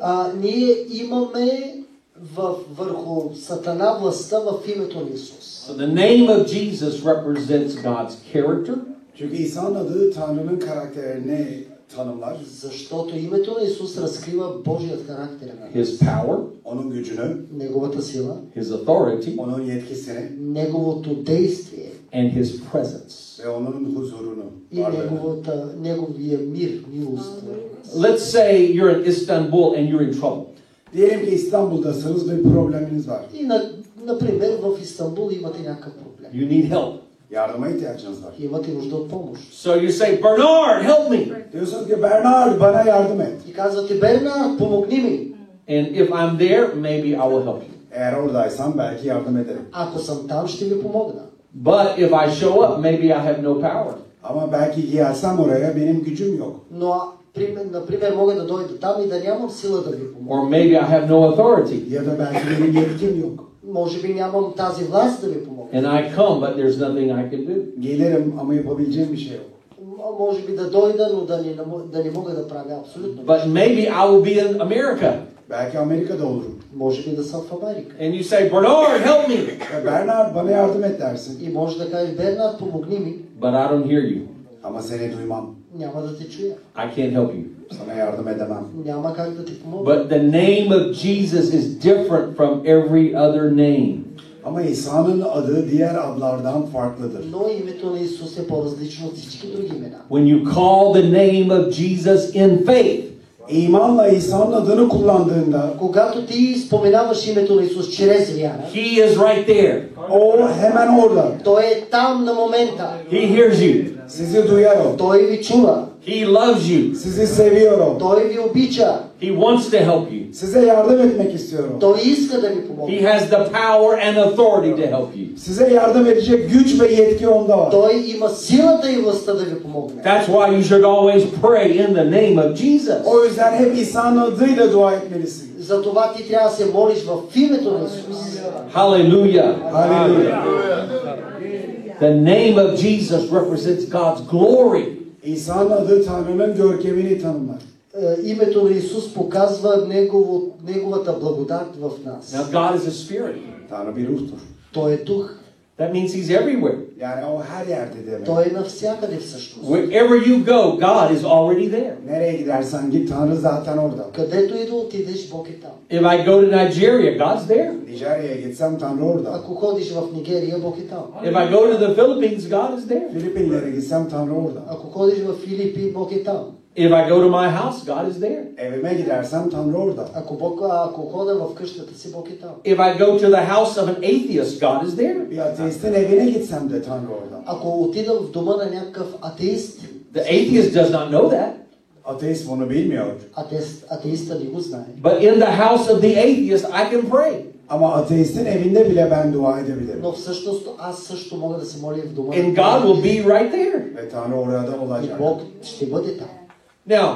А, ние имаме в, върху Сатана властта в името на Исус.
So the name of Jesus represents God's character.
Çünkü İsa'nın adı Tanrı'nın karakterini tanımlar,
Защото името на Исус разкрива Божият характер на нас.
his power,
onun gücünü,
Неговата сила,
his authority,
onun yetkisini
неговото действие
and his presence.
ve onun huzurunu.
и
varlığını.
неговата, неговия мир, милост върху нас.
Let's say you're in Istanbul and you're in trouble.
Diyelim ki İstanbul'dasınız ve probleminiz var.
И, на, например, в Истанбул имате някакъв проблем.
You need help.
Yardıma ihtiyacınız var.
Имате нужда от помощ.
So you say, Bernard, help me.
Diyorsunuz ki Bernard bana yardım et.
И казвате, Бернард, помогни ми.
And if I'm there, maybe I will help you.
Eğer oradaysan belki yardım ederim.
Ако съм там, ще ви помогна.
But if I show up, maybe I have no power.
Ama belki gelsem oraya benim gücüm yok.
Но, а, пример- например, мога да дойда там и да нямам сила да ви помогна.
Or maybe I have no authority.
Ya da belki benim yetkim yok.
Може би нямам тази власт да ви помогна.
And I come, but there's nothing I can do.
Gelirim ama yapabileceğim bir şey yok.
М- Може би да дойда, но да не, намо- да не мога да правя абсолютно.
But maybe I will be in America.
Belki Amerika'da olurum.
Може би да съм в Америка.
And you say, Bernard, help me.
Ya Bernard bana yardım et dersin.
И може да кажеш, Бернард, помогни ми.
But I don't hear you.
Ama seni duymam.
Няма да те чуя.
I can't help you.
Sana yardım edemem.
Няма как да ти помогна.
But the name of Jesus is different from every other name.
Ama İsa'nın adı diğer adlardan farklıdır.
Но името на Исус е по-различно от всички други имена.
When you call the name of Jesus in faith,
İmanla İsa'nın adını kullandığında
Когато ти споменаваш името на Исус чрез вяра,
He is right there.
o hemen orada.
Той е там на момента.
He hears you.
Sizi duyar o.
Той ви чува.
He loves you.
Sizi seviyor o.
Той ви обича.
He wants to help you.
Size yardım etmek istiyor o.
Той иска да ви
He
помогне.
has the power and authority to help you.
Size yardım edecek güç ve yetki onda var.
Той има силата и властта да ви помогне.
That's why you should always pray in the name of Jesus.
O yüzden hep İsa'nın adıyla dua etmelisin.
Затова ти трябва да се молиш в името на Исус. Е,
Hallelujah.
Hallelujah.
The name of Jesus represents God's glory.
İsa'nın adı Tanrı'nın görkemini tanımlar.
Е, Името на Исус показва негово, неговата благодат в нас.
Now, God is a spirit.
Tanrı bir ruhtur.
Той е дух.
That means He's everywhere.
Yani o her yerde demek.
Той е навсякъде всъщност.
Wherever you go, God is already there.
Nereye gidersen git Tanrı zaten orada.
Където и да отидеш, Бог е там.
If I go to Nigeria, God's there.
Nijerya'ya gitsem Tanrı orada.
Ако ходиш в Нигерия, Бог е там.
If I go to the Philippines, God is there.
Filipinlere gitsem Tanrı orada.
Ако ходиш в Филипи, Бог е там.
If I go to my house, God is there.
Evime gidersem Tanrı orada.
Ако, Бог, а, ако хода в къщата си, Бог е там.
If I go to the house of an atheist, God is there.
Bir ateistin evine gitsem de Tanrı orada.
Ако отида в дома на някакъв атеист,
The atheist does not know that.
Ateist bunu bilmiyor.
атеист атеиста не го знае.
But in the house of the atheist, I can pray.
Ama ateistin evinde bile ben dua edebilirim.
Но всъщност аз също мога да се моля и в дома.
And God will be right there.
Ve Tanrı orada
И
olacak.
Бог ще бъде там.
Now,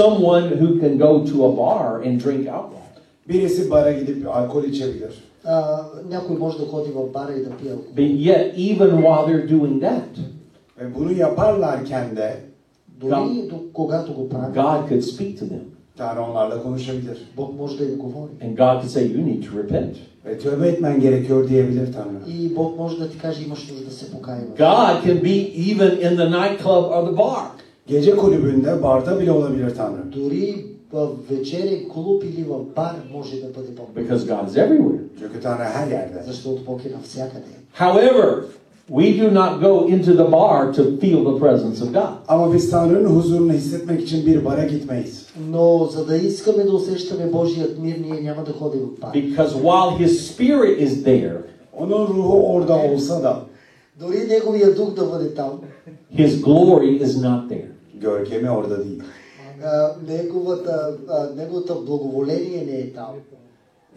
someone who can go to a bar and drink alcohol.
Birisi bara gidip alkol içebilir.
А, някой може да ходи в бара и да пие алкохол.
But yet, even while they're doing that,
Ve bunu yaparlarken de
Дори и до, когато го прави,
God could speak to them.
Tanrı onlarla konuşabilir.
Бог може да им говори.
And God could say, You need to repent.
Ve tövbe etmen gerekiyor diyebilir Tanrı.
И Бог може да ти каже, имаш нужда да се покаиваш.
God can be even in the nightclub or the bar.
Gece kulübünde, barda bile olabilir Tanrı.
Дори в вечерен клуб или в бар може да бъде Бог.
Because God is everywhere.
Çünkü Tanrı her yerde.
Защото Бог е навсякъде.
However, we do not go into the bar to feel the presence of God.
Ama biz Tanrı'nın huzurunu hissetmek için bir bara gitmeyiz.
Но за да искаме да усещаме Божият мир, ние няма да ходим в бар.
Because while His Spirit is there,
Onun ruhu orada olsa da
Дори Неговия дух да бъде там,
His glory is not there.
görkemi orada değil.
а, неговата, а, неговото благоволение не е там.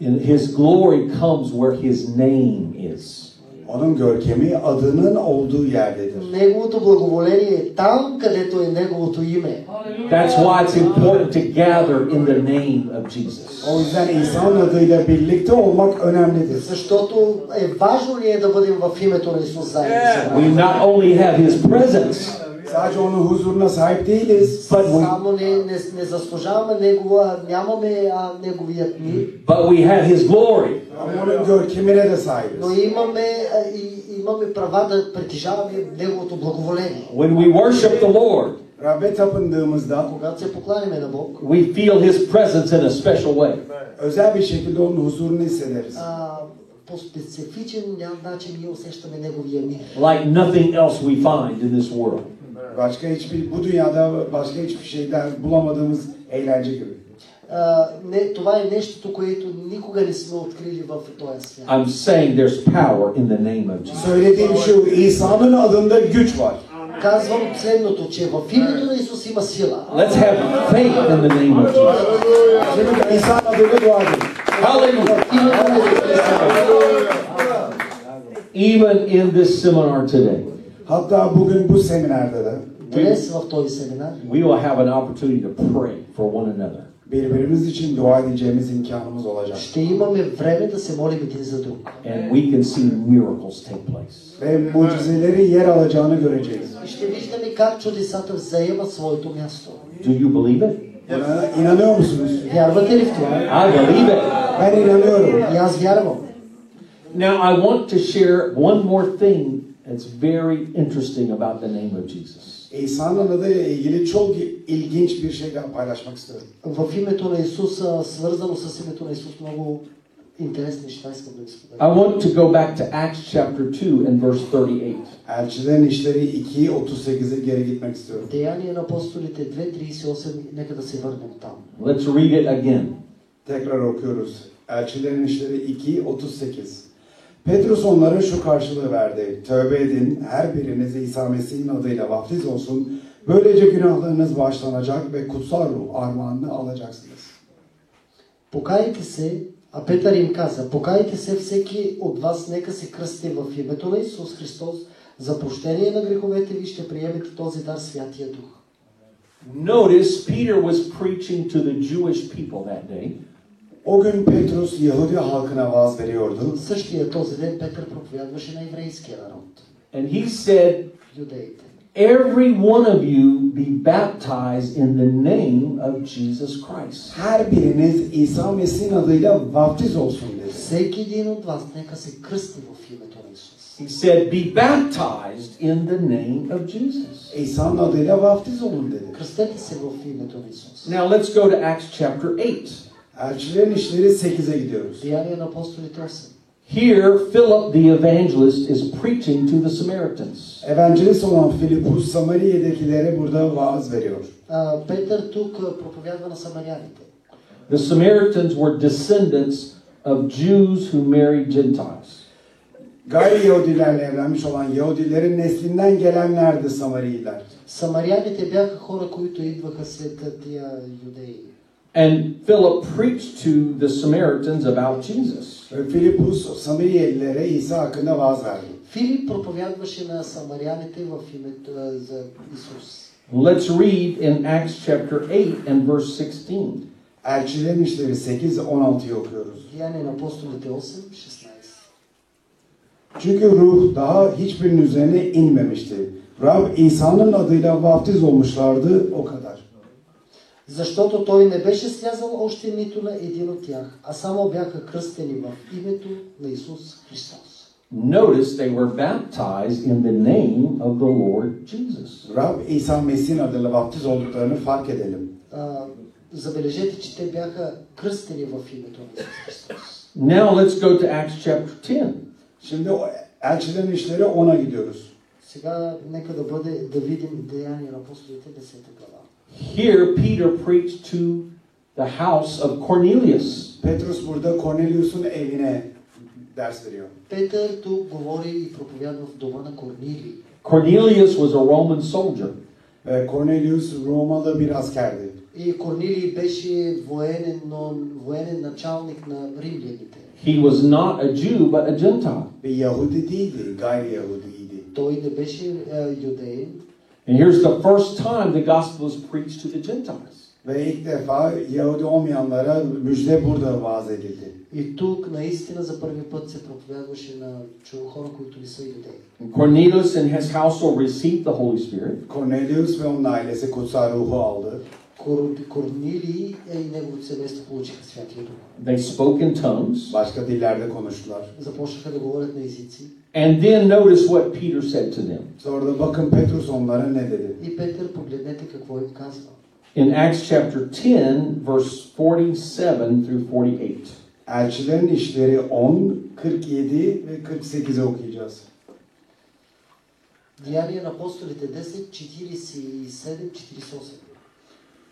And His glory comes where His name is.
Onun görkemi adının olduğu yerdedir.
Неговото благоволение е там, където е Неговото име.
That's why it's important to gather in the name of Jesus.
O yüzden İsa'nın adıyla birlikte olmak önemlidir.
Защото е важно ние да бъдем в името на Исус заедно.
We
събрани.
not only have His presence,
Sadece onun huzuruna sahip değiliz.
but we,
Само не, не, не заслужаваме Негова, нямаме а, Неговият мир,
but we have His glory.
Ama onun görkemine de sahibiz.
но имаме, а, и, имаме права да притежаваме Неговото благоволение.
When we worship the Lord,
Rabbe tapındığımızda
Когато се покланяме на Бог,
we feel His presence in a special way.
özel bir şekilde onun huzurunu hissederiz.
а, по специфичен ня- начин ние усещаме Неговия мир.
Like nothing else we find in this world.
Başka hiçbir, bu dünyada başka hiçbir şeyden bulamadığımız eğlence gibi.
А, не, това е нещото, което никога не сме открили в този свят.
I'm saying there's power in the name of Jesus.
Söylediğim şu, İsa'nın adında güç var.
Казвам следното, че в името на Исус има сила.
Let's have faith in the name of Jesus.
Şimdi İsa'nın adıyla dua edin.
В
Hallelujah.
името на Исус има сила.
Even in this seminar today,
Hatta bugün bu seminerde de
Днес в този семинар
we will have an opportunity to pray for one another.
birbirimiz için dua edeceğimiz imkanımız olacak.
ще imаме време да се молим един за друг.
And we can see miracles take place.
Ve mucizeleri yer alacağını göreceğiz.
И ще виждаме как чудесата заемат своето място.
Do you believe it?
Buna inanıyor musunuz?
Вярвате ли в това?
I believe it.
Ben inanıyorum.
И аз вярвам.
Now, I want to share one more thing that's very interesting about the name of Jesus.
İsa'nın adıyla ilgili çok ilginç bir şey daha paylaşmak istiyorum.
В името на Исус, а, свързано с името на Исус, много интересни неща искам да ви
I
споделя.
want to go back to Acts chapter 2 and verse 38.
Elçilerin işleri 2, 38'e geri gitmek istiyorum.
Деяния на апостолите 2.38, нека да се върнем там.
Let's read it again.
Tekrar okuyoruz. Elçilerin işleri 2, 38. Petrus onlara şu karşılığı verdi. Tövbe edin, her biriniz İsa Mesih'in adıyla vaftiz olsun. Böylece günahlarınız bağışlanacak ve kutsal ruh armağanını alacaksınız.
Покайте се, а Петър им каза, покайте се всеки от вас, нека се кръсти в името на Исус Христос, за прощение на греховете ви ще приемете този дар Святия Дух.
Notice Peter was preaching to the Jewish people that day.
O gün Petrus Yahudi halkına vaaz veriyordu.
Същия този ден Петър проповядваше на еврейския народ,
And he said,
юдеите.
Every one of you be baptized in the name of Jesus Christ.
Her biriniz İsa Mesih'in adıyla vaftiz olsun dedi.
Всеки един от вас нека се кръсти в името на Исус.
He said, Be baptized in the name of Jesus.
İsa'nın adıyla vaftiz olun dedi.
Кръстете се в името на Исус.
Now let's go to Acts chapter 8.
Elçilerin işleri 8'e gidiyoruz.
Деяния на апостолите 8.
Here, Philip the evangelist is preaching to the Samaritans.
Evangelist olan Filipus Samariye'dekilere burada vaaz veriyor.
А, Петър тук а, проповядва на самаряните.
The Samaritans were descendants of Jews who married Gentiles.
Gayri Yahudilerle evlenmiş olan Yahudilerin neslinden gelenlerdi Samariler.
Самаряните бяха хора, които идваха след тия юдеи.
And Philip preached to the Samaritans about Jesus.
Ve Filipus Samariyelilere İsa hakkında vaaz verdi.
Филип проповядваше на самаряните в името а, за Исус.
Let's read in Acts chapter 8 and verse 16.
Elçilerin işleri 8, 16'yı okuyoruz.
Деяния на апостолите 8, 16.
Çünkü ruh daha hiçbirinin üzerine inmemişti. Rab İsa'nın adıyla vaftiz olmuşlardı o kadar.
Защото той не беше слязал още нито на един от тях, а само бяха кръстени в името на Исус Христос.
Notice they were baptized in the name of the Lord Jesus.
Rab İsa Mesih'in adıyla vaftiz olduklarını fark edelim.
А, забележете, че те бяха кръстени в името на Исус Христос.
Now let's go to Acts chapter 10.
Şimdi o elçilerin işleri 10'a gidiyoruz.
Сега нека да бъде да видим деяния на апостолите 10 глава.
Here, Peter preached to the house of Cornelius.
Petrus burada Cornelius'un evine ders veriyor.
Петър тук говори и проповядва в дома на Корнилий.
Cornelius was a Roman soldier.
Ee, Cornelius Romalı bir askerdi.
И Корнилий беше военен, но военен началник на римляните.
He was not a Jew, but a Gentile.
Bir Yahudi değildi, gayri Yahudiydi.
Той не беше е, а, юдеин.
And here's the first time the gospel is preached to the Gentiles.
Ve ilk defa Yahudi olmayanlara müjde burada vaaz edildi.
И тук наистина за първи път се проповядваше на чу- хора, които не са юдеи.
And Cornelius and his household received the Holy Spirit.
Cornelius ve onun ailesi kutsal ruhu aldı.
Кор... Корнилий е и неговото семейство получиха Святия Дух.
They spoke in tongues.
Başka dillerde konuştular.
Започнаха да говорят на езици.
And then notice what Peter said to them.
Sonra da bakın Petrus onlara ne dedi.
И Петър, погледнете какво им казва.
In Acts chapter 10, verse 47 through 48.
Elçilerin işleri 10, 47 ve 48'i okuyacağız.
Деяния на апостолите 10, 47-48.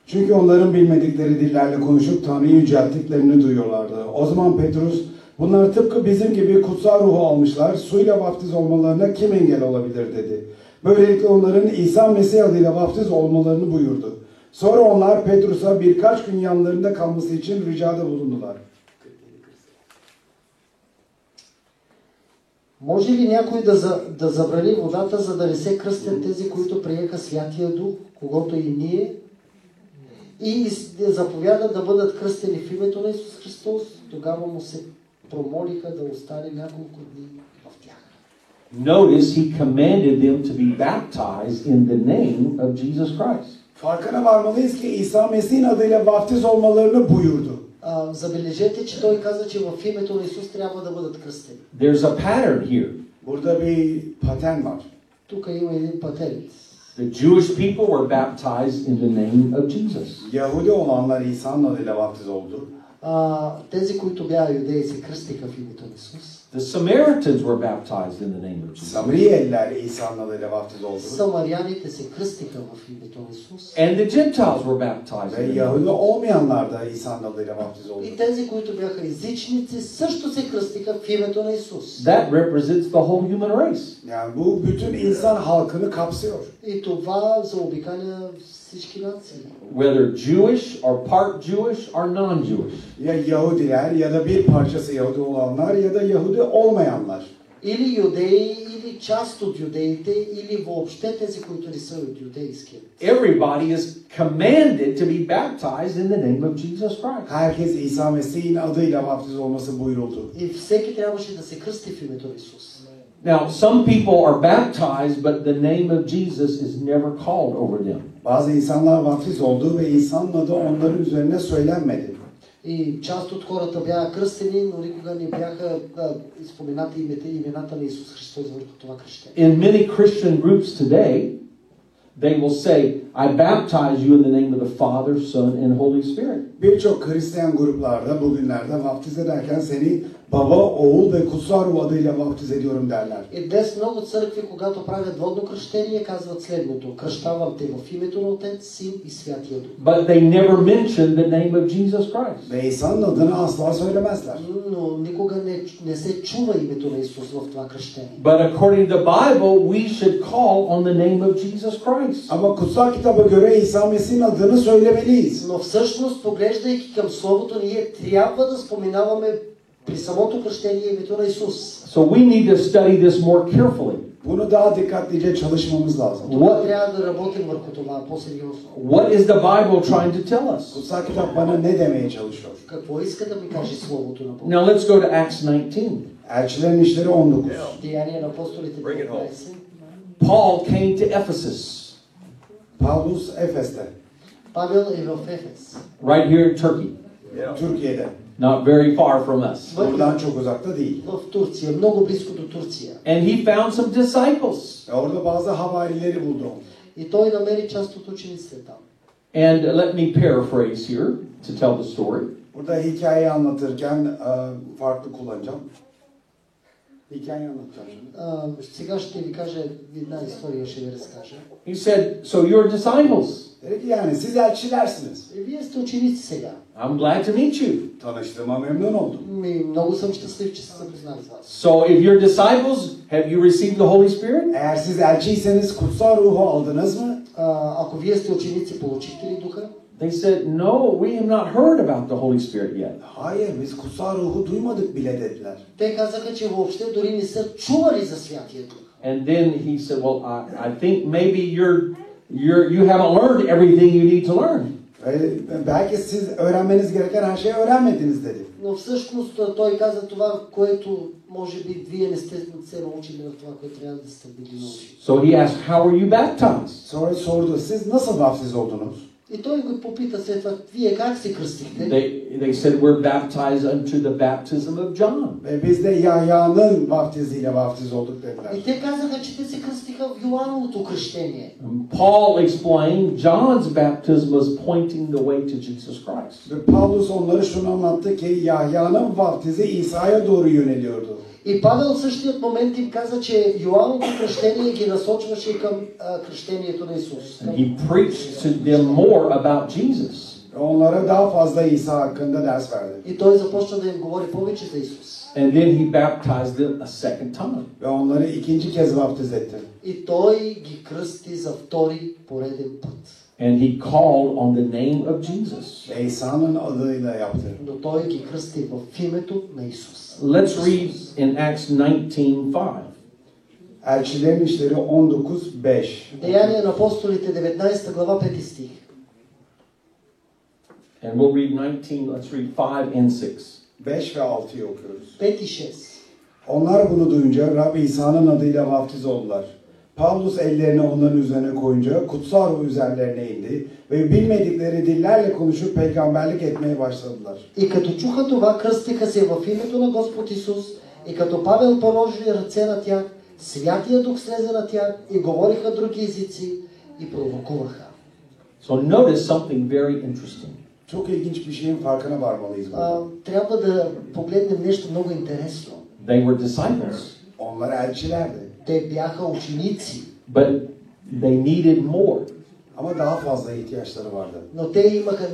Çünkü onların bilmedikleri dillerle konuşup Tanrı'yı yücelttiklerini duyuyorlardı. O zaman Petrus, bunlar tıpkı bizim gibi kutsal ruhu almışlar, suyla vaftiz olmalarına kim engel olabilir dedi. Böylelikle onların İsa Mesih adıyla vaftiz olmalarını buyurdu. Sonra onlar Petrus'a birkaç gün yanlarında kalması için ricada bulundular.
Може ли някой да, за, да забрани водата, за да не се кръстят тези, които приеха Святия Дух, когато и ние, и из- заповяда да бъдат кръстени в името на Исус Христос? Тогава му се промолиха да остане няколко дни в тях.
Notice he commanded them to be baptized in the name of Jesus Christ.
Farkına varmalıyız ki İsa Mesih'in adıyla vaftiz olmalarını buyurdu.
А, забележете, че той каза, че в името на Исус трябва да бъдат кръстени.
There's a pattern here.
Burada bir paten var.
Тук има един патент.
The Jewish people were baptized in the name of Jesus.
Yahudi olanlar İsa'nın adıyla vaftiz oldu.
А, тези, които бяха юдеи, се кръстиха в името на Исус.
The Samaritans were baptized in the name of Jesus.
Samariyeliler İsa'nın adıyla vaftiz oldu.
Самаряните се кръстиха в името на Исус.
And the Gentiles were baptized.
Ve
in the name of
Yahudi olmayanlar da İsa'nın adıyla vaftiz oldu.
И тези, които бяха езичници, също се кръстиха в името на Исус.
Jesus. That represents the whole human race.
Yani bu bütün insan halkını kapsıyor.
И това заобикаля всички нации.
Whether Jewish or part Jewish or non Jewish.
Ya Yahudiler ya da bir parçası Yahudi olanlar ya da Yahudi olmayanlar.
Или юдеи, или част от юдеите, или въобще тези, които не са от юдейския.
Everybody is commanded to be baptized in the name of Jesus Christ.
Herkes İsa Mesih'in adıyla vaftiz olması buyuruldu.
И всеки трябваше да се кръсти в името на Исус.
Now, some people are baptized, but the name of Jesus is never called over them.
Bazı insanlar vaftiz oldu ve İsa'nın adı onların üzerine söylenmedi.
И част от хората бяха кръстени, но никога не бяха да, изпоменати имете, имената на Исус Христос върху това кръщение.
In many Christian groups today, they will say, I baptize you in the name of the Father, Son, and Holy Spirit.
Birçok Hristiyan gruplarda bugünlerde vaftiz ederken seni baba, oğul ve kutsal ruh adıyla vaftiz ediyorum derler.
И днес много църкви, когато правят водно кръщение, казват следното. Кръщавам те в името на Отец, Син и Святия Дух.
But they never mention the name of Jesus Christ.
Ve İsa'nın adını asla söylemezler.
Но никога не, не се чува името на Исус в това кръщение.
But according to the Bible, we should call on the name of Jesus Christ.
Ama kutsal kitaba göre İsa Mesih'in adını söylemeliyiz.
Но всъщност, поглеждайки към Словото, ние трябва да споменаваме при самото кръщение името на Исус.
So we need to study this more carefully.
Bunu daha dikkatlice çalışmamız lazım.
Тук
What,
трябва да работим върху това по-сериозно.
what is the Bible trying to tell us?
Kutsal kitap bana ne demeye çalışıyor?
Какво иска да ми каже Словото на Бог?
Now let's go to Acts 19.
Elçilerin işleri 19.
Деяния на апостолите
Bring it home.
19.
Paul came to Ephesus,
Pavlus Efes'te,
Павел е в Ефес.
right here in Turkey,
Yeah.
Türkiye'de.
not very far from us.
В,
Buradan çok uzakta değil.
в Турция, много близко до Турция.
And he found some disciples.
Ve E, orada bazı havarileri buldu.
И той намери част от учениците там.
And let me paraphrase here to tell the story.
Burada hikayeyi anlatırken e, farklı kullanacağım. Hikayeyi anlatacağım şimdi.
А, сега ще ви кажа една история, ще ви разкажа.
He said, So you're disciples.
Dedi ki yani siz elçilersiniz.
Е, Вие сте ученици сега.
I'm glad to meet you.
Tanıştığıma memnun oldum.
Ми, много съм щастлив, че се запознах с вас.
So if you're disciples, have you received the Holy Spirit?
Eğer siz elçiyseniz kutsal ruhu aldınız mı?
А, ако вие сте ученици, получихте ли духа?
They said, No, we have not heard about the Holy Spirit yet.
Hayır biz kutsal ruhu duymadık bile dediler.
Те казаха, че въобще дори не са чували за Святия Дух.
And then he said, Well, I, I think maybe you're, you're, you haven't learned everything you need to learn.
Ve belki siz öğrenmeniz gereken her şeyi öğrenmediniz dedi.
Но всъщност той каза това, което може би вие не сте се научили в това, което трябва да сте били научили.
So he asked, How were you baptized?
Sonra sordu siz nasıl vaftiz oldunuz?
И той го попита след това, вие как се кръстихте?
They, they said, We're baptized unto the baptism of John.
Ve biz de Yahya'nın vaftiziyle vaftiz olduk dediler.
И те казаха, че те се кръстиха в Йоановото кръщение.
And Paul explained John's baptism was pointing the way to Jesus Christ.
Ve Pavlus onlara şunu anlattı ki Yahya'nın vaftizi İsa'ya doğru yöneliyordu.
И Павел в същият момент им каза, че Йоановото кръщение ги насочваше към а, кръщението на Исус.
And he preached to them more about Jesus.
Ve onlara daha fazla İsa hakkında ders verdi.
И той започна да им говори повече за Исус.
And then he baptized them a second time.
Ve onları ikinci kez vaftiz etti.
И той ги кръсти за втори пореден път.
And he called on the name of Jesus.
Ve İsa'nın adıyla yaptı.
Но той ги кръсти в името на Исус.
Let's read in Acts 19:5.
Elçilerin işleri 19.5
Деяния на апостолите 19 глава 5 стих.
And we'll read 19, let's read 5 and 6.
5 ve 6'yı okuyoruz.
5 и 6.
Onlar bunu duyunca Rab İsa'nın adıyla vaftiz oldular. Pavlus ellerini onların üzerine koyunca kutsal ruh üzerlerine indi ve bilmedikleri dillerle konuşup peygamberlik etmeye başladılar.
И като чуха това, кръстиха се в името на Господ Исус. И като Павел положи ръце на тях, Святия Дух слезе на тях и говориха други езици и пророкуваха.
So notice something very interesting.
Çok ilginç bir şeyin farkına varmalıyız.
А,
burada.
трябва да погледнем нещо много интересно.
They were disciples,
Onlar elçilerdi.
Те бяха ученици,
but they needed more.
Ama daha fazla ihtiyaçları vardı.
но те имаха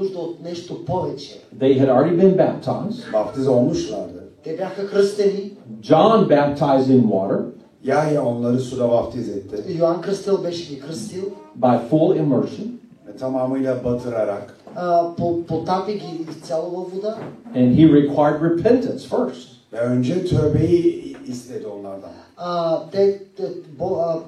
нужда от нещо повече.
They had already been baptized.
Vaftiz olmuşlardı.
Те бяха кръстени.
John baptized in water
Yahya onları suda vaftiz etti.
Йоанн Кръстел беше ги кръстил.
by full immersion,
Ve tamamıyla batırarak.
А, по, потапи ги изцяло във вода.
and he required repentance first.
Ve önce tövbeyi istedi onlardan.
А, те, те, Бо, а,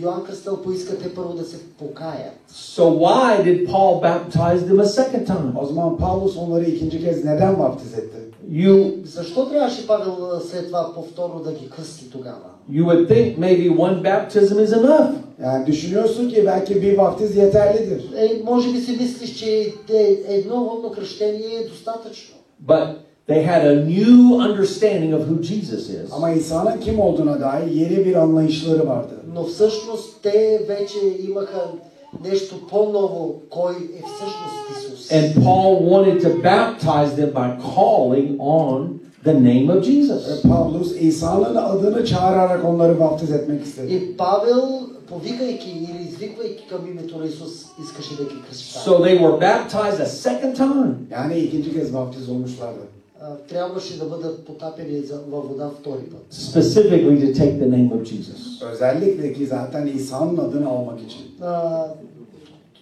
Йоанн Кръстел поиска те първо да се покаят.
So why did Paul baptize them a second time?
O zaman Paulus onları ikinci kez neden vaftiz etti?
You
Защо трябваше Павел а, след това повторно да ги кръсти тогава?
you would think maybe one baptism is enough.
Yani düşünüyorsun ki belki bir vaftiz yeterlidir.
Е, може би си мислиш, че е- едно водно кръщение е достатъчно.
But they had a new understanding of who Jesus is.
Ama İsa'nın kim olduğuna dair yeni bir anlayışları vardı.
Но всъщност те вече имаха нещо по-ново, кой е всъщност Исус.
And Paul wanted to baptize them by calling on the name of Jesus.
Ve Pavlus E, İsa'nın adını çağırarak onları vaftiz etmek istedi.
И Павел, повикайки или извиквайки към името на Исус, искаше да ги кръща.
So they were baptized a second time.
Yani ikinci kez vaftiz olmuşlardı.
А, трябваше да бъдат потапени за- във вода втори път.
Specifically to take the name of Jesus.
Özellikle ki zaten İsa'nın adını almak için.
А,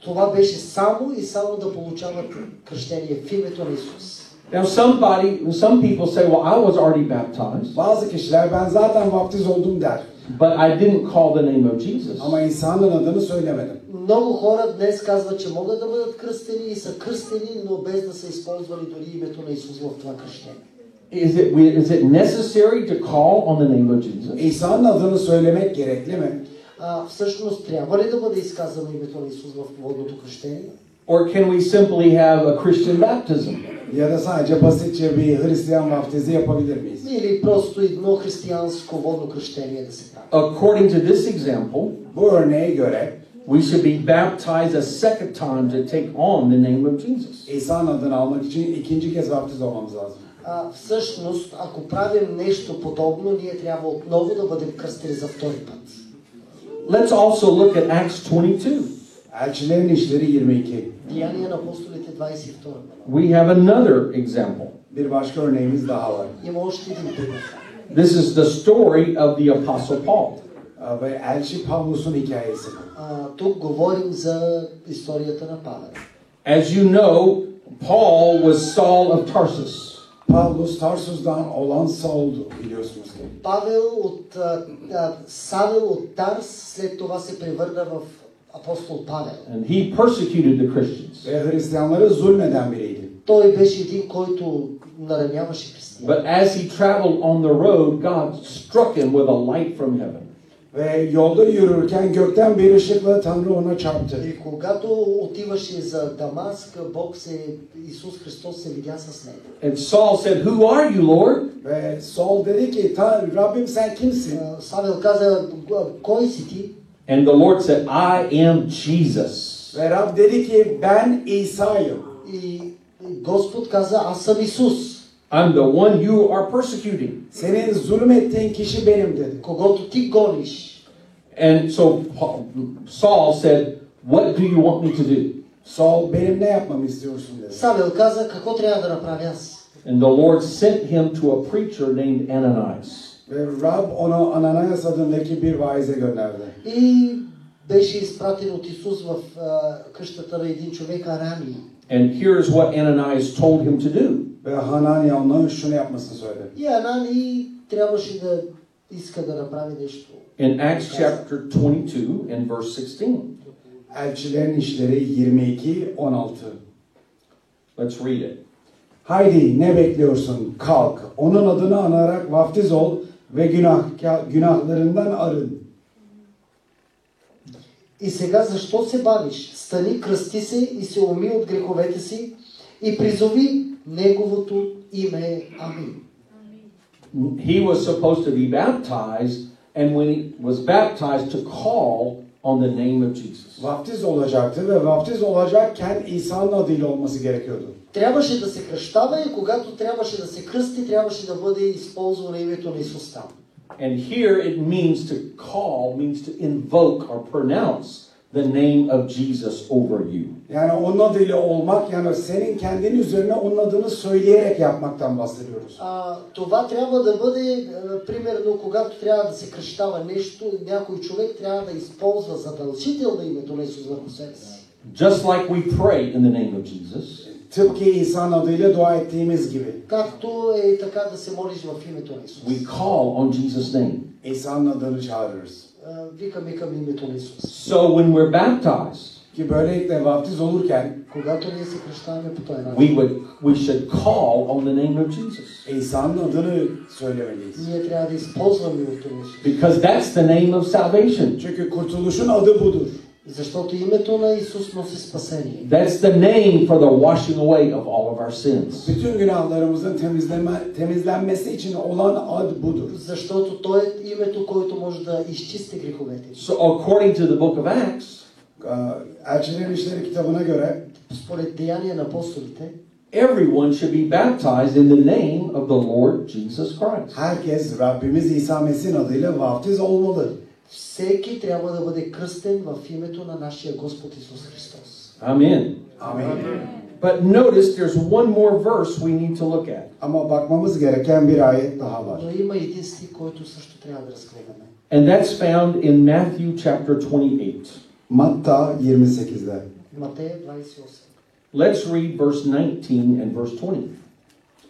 това беше само и само да получават кръщение в името на Исус.
Now somebody some people say, Well, I was already baptized,
Bazı kişiler ben zaten vaftiz oldum der.
but I didn't call the name of Jesus.
Ama İsa'nın adını söylemedim.
Много хора днес казват, че могат да бъдат кръстени и са кръстени, но без да са използвали дори името на Исус в това кръщение.
Is it is it necessary to call on the name of Jesus?
İsa'nın adını söylemek gerekli mi?
А, всъщност трябва ли да бъде изказано името на Исус в водното кръщение?
Or can we simply have a Christian baptism?
Ya da sadece basitçe bir Hristiyan vaftizi yapabilir miyiz?
Или просто едно християнско водно кръщение да се прави?
According to this example,
Bu örneğe göre
we should be baptized a second time to take on the name of Jesus.
İsa'nın adını almak için ikinci kez vaftiz olmamız lazım.
А, всъщност, ако правим нещо подобно, ние трябва отново да бъдем кръстени за втори път.
Let's also look at Acts 22.
Elçilerin işleri 22.
Деяния на апостолите 22 глава.
We have another example.
Bir başka örneğimiz daha var.
Има още един пример.
This is the story of the Apostle Paul.
Ee, Ve Elçi Pavlus'un hikayesi. bu.
А, тук говорим за историята на Павел.
As you know, Paul was Saul of Tarsus.
Pavlus Tarsus'dan olan Saul'du biliyorsunuz ki.
Павел от а, а, Савел от Тарс след това се превърна в апостол Павел.
And he persecuted the Christians.
Ve Hristiyanları zulmeden biriydi.
Той беше един, който нараняваше християни.
But as he traveled on the road, God struck him with a light from heaven.
Ve yolda yürürken gökten bir ışıkla Tanrı ona çarptı.
И когато отиваше за Дамаск, Бог се, Исус Христос се видя с него.
And Saul said, Who are you, Lord?
Ve Saul dedi ki Tanrı Rabbim sen kimsin?
А, Савел каза, «Г- кой си ти?
And the Lord said, I am Jesus.
Ve Rab dedi ki ben İsa'yım.
И Господ каза, аз съм Исус,
I'm the one you are persecuting.
Senin zulmettiğin kişi benim dedi.
когато ти гониш.
And so Paul- Saul said, What do you want me to do?
Saul benim ne yapmamı istiyorsun dedi.
Савел каза, какво трябва да направя аз?
And the Lord sent him to a preacher named Ananias.
Ve Rab onu Ananias adındaki bir vaize gönderdi.
И беше изпратен от Исус в а, къщата на един човек Арами.
And here's what Ananias told him to do.
Ve Hananya ona şunu yapmasını söyledi.
И Арами трябваше да иска да направи нещо.
In Acts chapter 22 and verse 16,
Elçilerin işleri 22 16.
let's read it.
Haydi ne bekliyorsun? Kalk. Onun adını anarak vaftiz ol ve günah günahlarından arın.
И сега защо се бавиш? Стани, кръсти се и се уми от греховете си и призови Неговото име. Амин.
he was supposed to be baptized, and when he was baptized, to call on the name of Jesus.
Vaftiz olacaktı ve vaftiz olacakken İsa'nın adıyla olması gerekiyordu.
Трябваше да се кръщава и когато трябваше да се кръсти, трябваше да бъде използвано името на Исус там.
And here it means to call, means to invoke or pronounce the name of Jesus over you.
Yani onun adıyla olmak, yani senin kendin üzerine onun adını söyleyerek yapmaktan bahsediyoruz.
А, това трябва да бъде, а, примерно, когато трябва да се кръщава нещо, някой човек трябва да използва задължително името на Исус върху себе си.
Just like we pray in the name of Jesus,
Tıpkı İsa'nın adıyla dua ettiğimiz gibi.
Както е така да се молиш в името на Исус.
we call on Jesus' name.
İsa'nın adını çağırırız.
А, Викаме към името на Исус.
So when we're baptized,
Ki böylelikle vaftiz olurken
Когато ние се кръщаваме по този начин,
we would we should call on the name of Jesus
İsa'nın adını söylemeliyiz.
ние трябва да използваме името на Исус.
because that's the name of salvation.
Çünkü kurtuluşun adı budur.
Защото името на Исус носи спасение.
That's the name for the washing away of all of our sins.
Bütün günahlarımızın temizleme, temizlenmesi için olan ad budur.
Защото Той е името, който може да изчисти греховете.
So according to the book of Acts,
Ee, Elçilerin İşleri kitabına göre
Според деяния на апостолите,
everyone should be baptized in the name of the Lord Jesus Christ.
herkes Rabbimiz İsa Mesih'in adıyla vaftiz olmalı.
всеки трябва да бъде кръстен в името на нашия Господ Исус Христос.
Amen.
Amin.
But notice there's one more verse we need to look at.
Ama bakmamız gereken bir ayet daha var.
Но има един стих, който също трябва да разгледаме.
And that's found in Matthew chapter 28.
Matta 28'de.
Матея 28.
Let's read verse 19 and verse 20.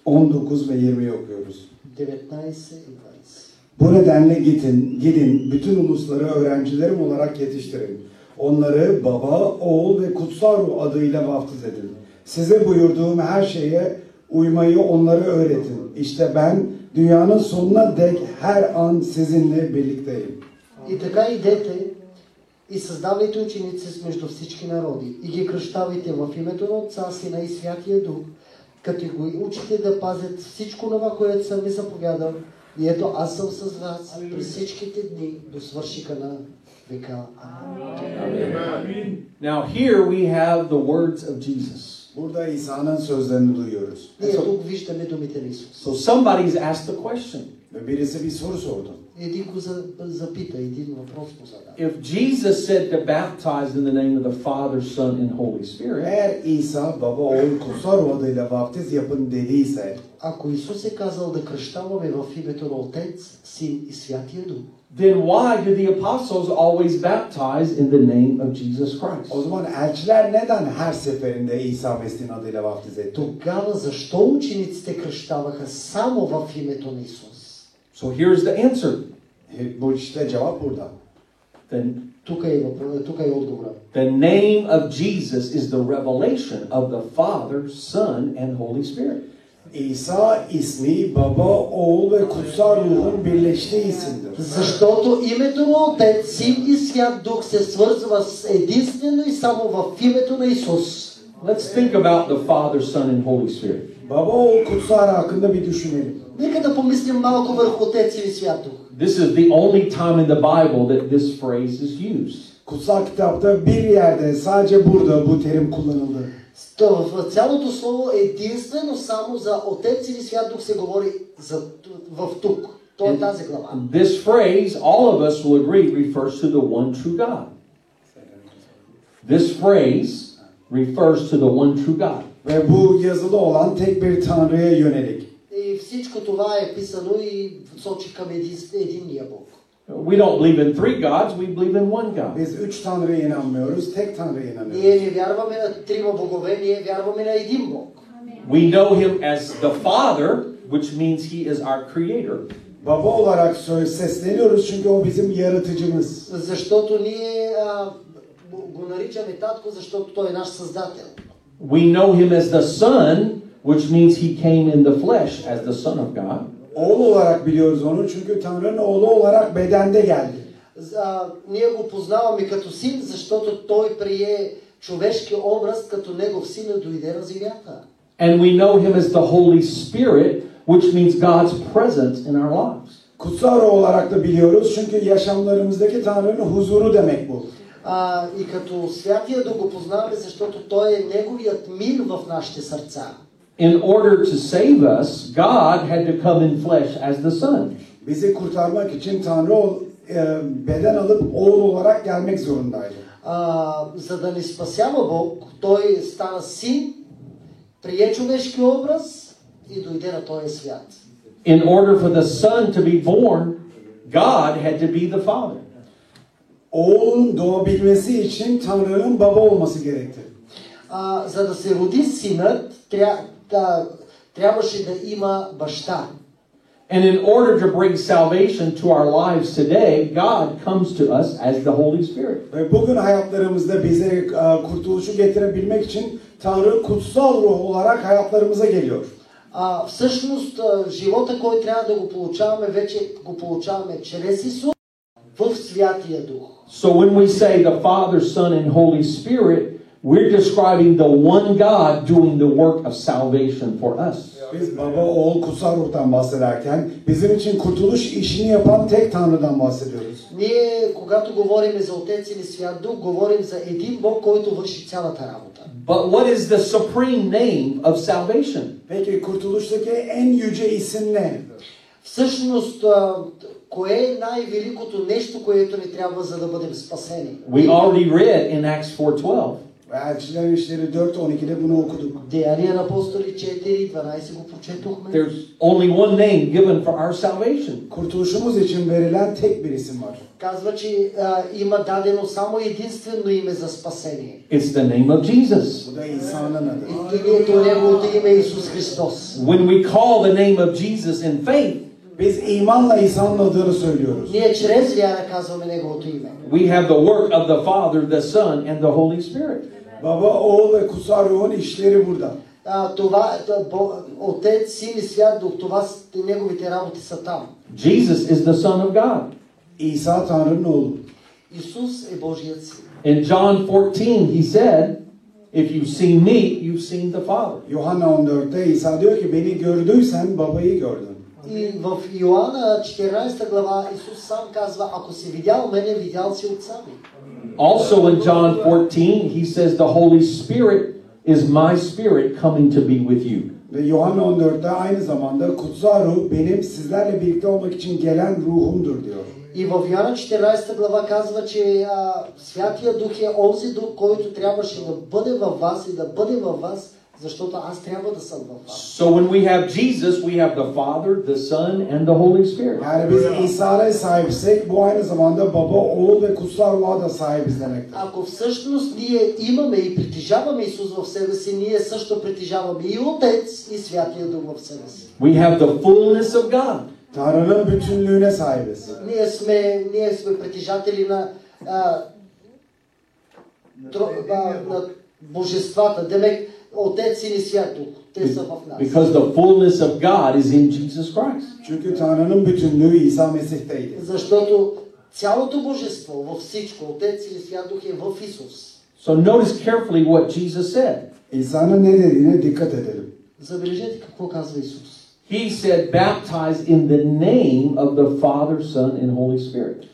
19 ve 20'yi okuyoruz.
19 и 20.
Bu nedenle gidin, gidin bütün ulusları öğrencilerim olarak yetiştirin. Onları baba, oğul ve kutsal ruh adıyla vaftiz edin. Size buyurduğum her şeye uymayı onlara öğretin. İşte ben dünyanın sonuna dek her an sizinle birlikteyim.
И така идете и създавайте ученици между всички народи и ги кръщавайте в името на Отца, Сина и Святия Дух, като ги учите да пазят всичко това, което съм ви заповядал. И ето аз съм с вас през всичките дни до свършика на века. Амин.
Now here we have the words of Jesus.
Burada İsa'nın sözlerini duyuyoruz.
Ние тук виждаме думите на Исус.
So somebody's asked the question.
Ve birisi bir soru sordu.
Един го за- запита, един въпрос му зададе.
If Jesus said to baptize in the name of the Father, Son, and Holy Spirit,
Eğer İsa baba, oğul, kutsal ruh adıyla vaftiz yapın dediyse
Ако Исус е казал да кръщаваме в името на Отец, Син и Святия Дух,
then why do the apostles always baptize in the name of Jesus Christ?
O zaman elçiler neden her seferinde İsa Mesih'in adıyla vaftiz etti?
Тогава защо учениците кръщаваха само в името на Исус?
So here's the answer.
E, Bu işte cevap burada.
The,
Тук е, въпро- тук е отговора.
the name of Jesus is the revelation of the Father, Son, and Holy Spirit.
İsa ismi baba, oğul ve kutsal ruhun birleştiği isimdir.
Защото името на Отец, Син и Свят Дух се свързва с единствено и само в името на Исус.
Let's think about the Father, Son, and Holy Spirit.
Baba, oğul, kutsal ruh hakkında bir düşünelim.
Нека да помислим малко върху Отец и Свят Дух.
This is the only time in the Bible that this phrase is used.
Kutsal kitapta bir yerde sadece burada bu terim kullanıldı.
То в цялото слово е единствено само за Отец или Свят Дух се говори за, в тук. То е тази глава.
This phrase, all of us will agree, refers to the one true God. This phrase refers to the one true God.
Ve bu yazılı olan tek bir tanrıya yönelik.
И всичко това е писано и сочи към един, единния Бог.
We don't believe in three gods, we believe in one God.
Biz üç tanrıya inanmıyoruz, tek tanrıya
Ние
inanıyoruz.
не вярваме на трима богове, ние вярваме на един Бог.
We know him as the Father, which means he is our creator.
Baba olarak söz sesleniyoruz çünkü o bizim yaratıcımız.
Защото ние а, го наричаме татко, защото той е наш създател.
We know him as the Son, which means he came in the flesh as the Son of God.
Oğul olarak biliyoruz onu çünkü Tanrı'nın oğlu olarak bedende geldi.
А, ние го познаваме като син, защото той прие човешки образ, като негов син и дойде на земята.
And we know him as the Holy Spirit, which means God's presence in our lives.
Kutsal ruh olarak da biliyoruz çünkü yaşamlarımızdaki Tanrı'nın huzuru demek bu.
А, и като святия да го познаваме, защото Той е Неговият мир в нашите сърца.
In order to save us, God had to come in flesh as the Son.
Bizi kurtarmak için Tanrı ol- e, beden alıp oğul olarak gelmek zorundaydı.
А, за да ни спасява Бог, Той стана син, прие човешки образ и дойде на този свят.
In order for the Son to be born, God had to be the Father.
Oğulun doğabilmesi için Tanrı'nın baba olması gerekti.
А, за да се роди синът, тря, да, трябваше да има баща.
And in order to bring salvation to our lives today, God comes to us as the Holy Spirit.
Ve bugün hayatlarımızda bize e, kurtuluşu getirebilmek için Tanrı kutsal ruh olarak hayatlarımıza geliyor.
А, всъщност, а, живота, който трябва да го получаваме, вече го получаваме чрез Исус в Святия Дух.
So when we say the Father, Son, and Holy Spirit, we're describing the one God doing the work of salvation for us.
Biz baba, oğul, kutsal ruhtan bahsederken bizim için kurtuluş işini yapan tek Tanrı'dan bahsediyoruz.
Ние, когато говорим за Отец или Свят Дух, говорим за един Бог, който върши цялата работа.
But what is the supreme name of salvation?
Peki kurtuluştaki en yüce isim ne?
Всъщност, а, кое е най-великото нещо, което ни трябва, за да бъдем спасени?
We already read in Acts 4:12.
Ve Elçiler İşleri 4.12'de bunu okuduk.
Деяния на апостоли 4, 12 го прочетохме.
There's only one name given for our salvation.
Kurtuluşumuz için verilen tek bir isim var.
Казва, че а, има дадено само единствено име за спасение.
It's the name of Jesus.
Bu da İsa'nın adı.
И- Името Неговото име е Исус Христос.
When we call the name of Jesus in faith,
Biz imanla İsa'nın adını söylüyoruz.
Ние чрез вяра казваме Неговото име.
we have the work of the Father, the Son, and the Holy Spirit.
Baba, oğul ve kutsal ruhun işleri burada.
А, това, та, Бо- Отец, Син и Свят Дух, това с- неговите работи са там.
Jesus is the Son of God.
İsa Tanrı'nın oğlu.
Исус е Божият Син.
In John 14, he said, If you've seen me, you've seen the Father.
Yuhanna 14'te İsa diyor ki beni gördüysen babayı gördün.
И в Йоанна 14 глава Исус сам казва, ако си видял мене, видял си отца ми.
Also in John 14, he says, The Holy Spirit is my spirit coming to be with you.
Ve Yuhanna 14'te aynı zamanda kutsal ruh benim sizlerle birlikte olmak için gelen ruhumdur diyor.
И в Йоанна 14 глава казва, че а, Святия Дух е онзи Дух, който трябваше да бъде във вас и да бъде във вас, защото аз трябва да съм във вас.
So when we have Jesus, we have the Father, the Son, and the Holy Spirit.
Yani biz İsa'ya sahipsek bu aynı zamanda baba, oğul ve kutsal ruha da sahibiz demektir.
Ако всъщност ние имаме и притежаваме Исус в себе си, ние също притежаваме и Отец и Святия Дух в себе си.
We have the fullness of God.
Tanrı'nın bütünlüğüne sahibiz.
Ние сме, ние сме притежатели на, а, тро, а, на божествата. Демек, Отец и Свят Дух. Те са в нас.
Because the fullness of God is in Jesus Christ.
Çünkü Tanrı'nın bütünlüğü İsa Mesih'teydi.
Защото цялото божество във всичко, Отец и Свят Дух е в Исус.
So notice carefully what Jesus said.
İsa'nın ne dediğine dikkat edelim.
Забележете какво казва Исус.
He said, baptize in the name of the Father, Son, and Holy Spirit.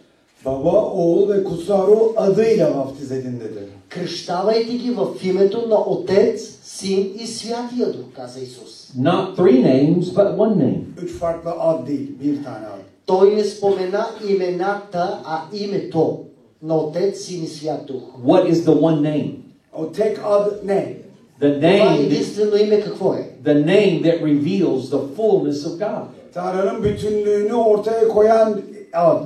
Baba, oğul ve kutsal ruh adıyla vaftiz edin dedi.
Кръщавайте ги в името на Отец, Син и Святия Дух, каза Исус.
Not three names, but one name.
Üç farklı ad değil, bir tane ad.
Той не спомена имената, а името на Отец, Син и Свят Дух.
What is the one name?
O tek ad ne?
The
Това
name, that-
единствено име какво е?
the name that reveals the fullness of God.
Tanrı'nın bütünlüğünü ortaya koyan ad.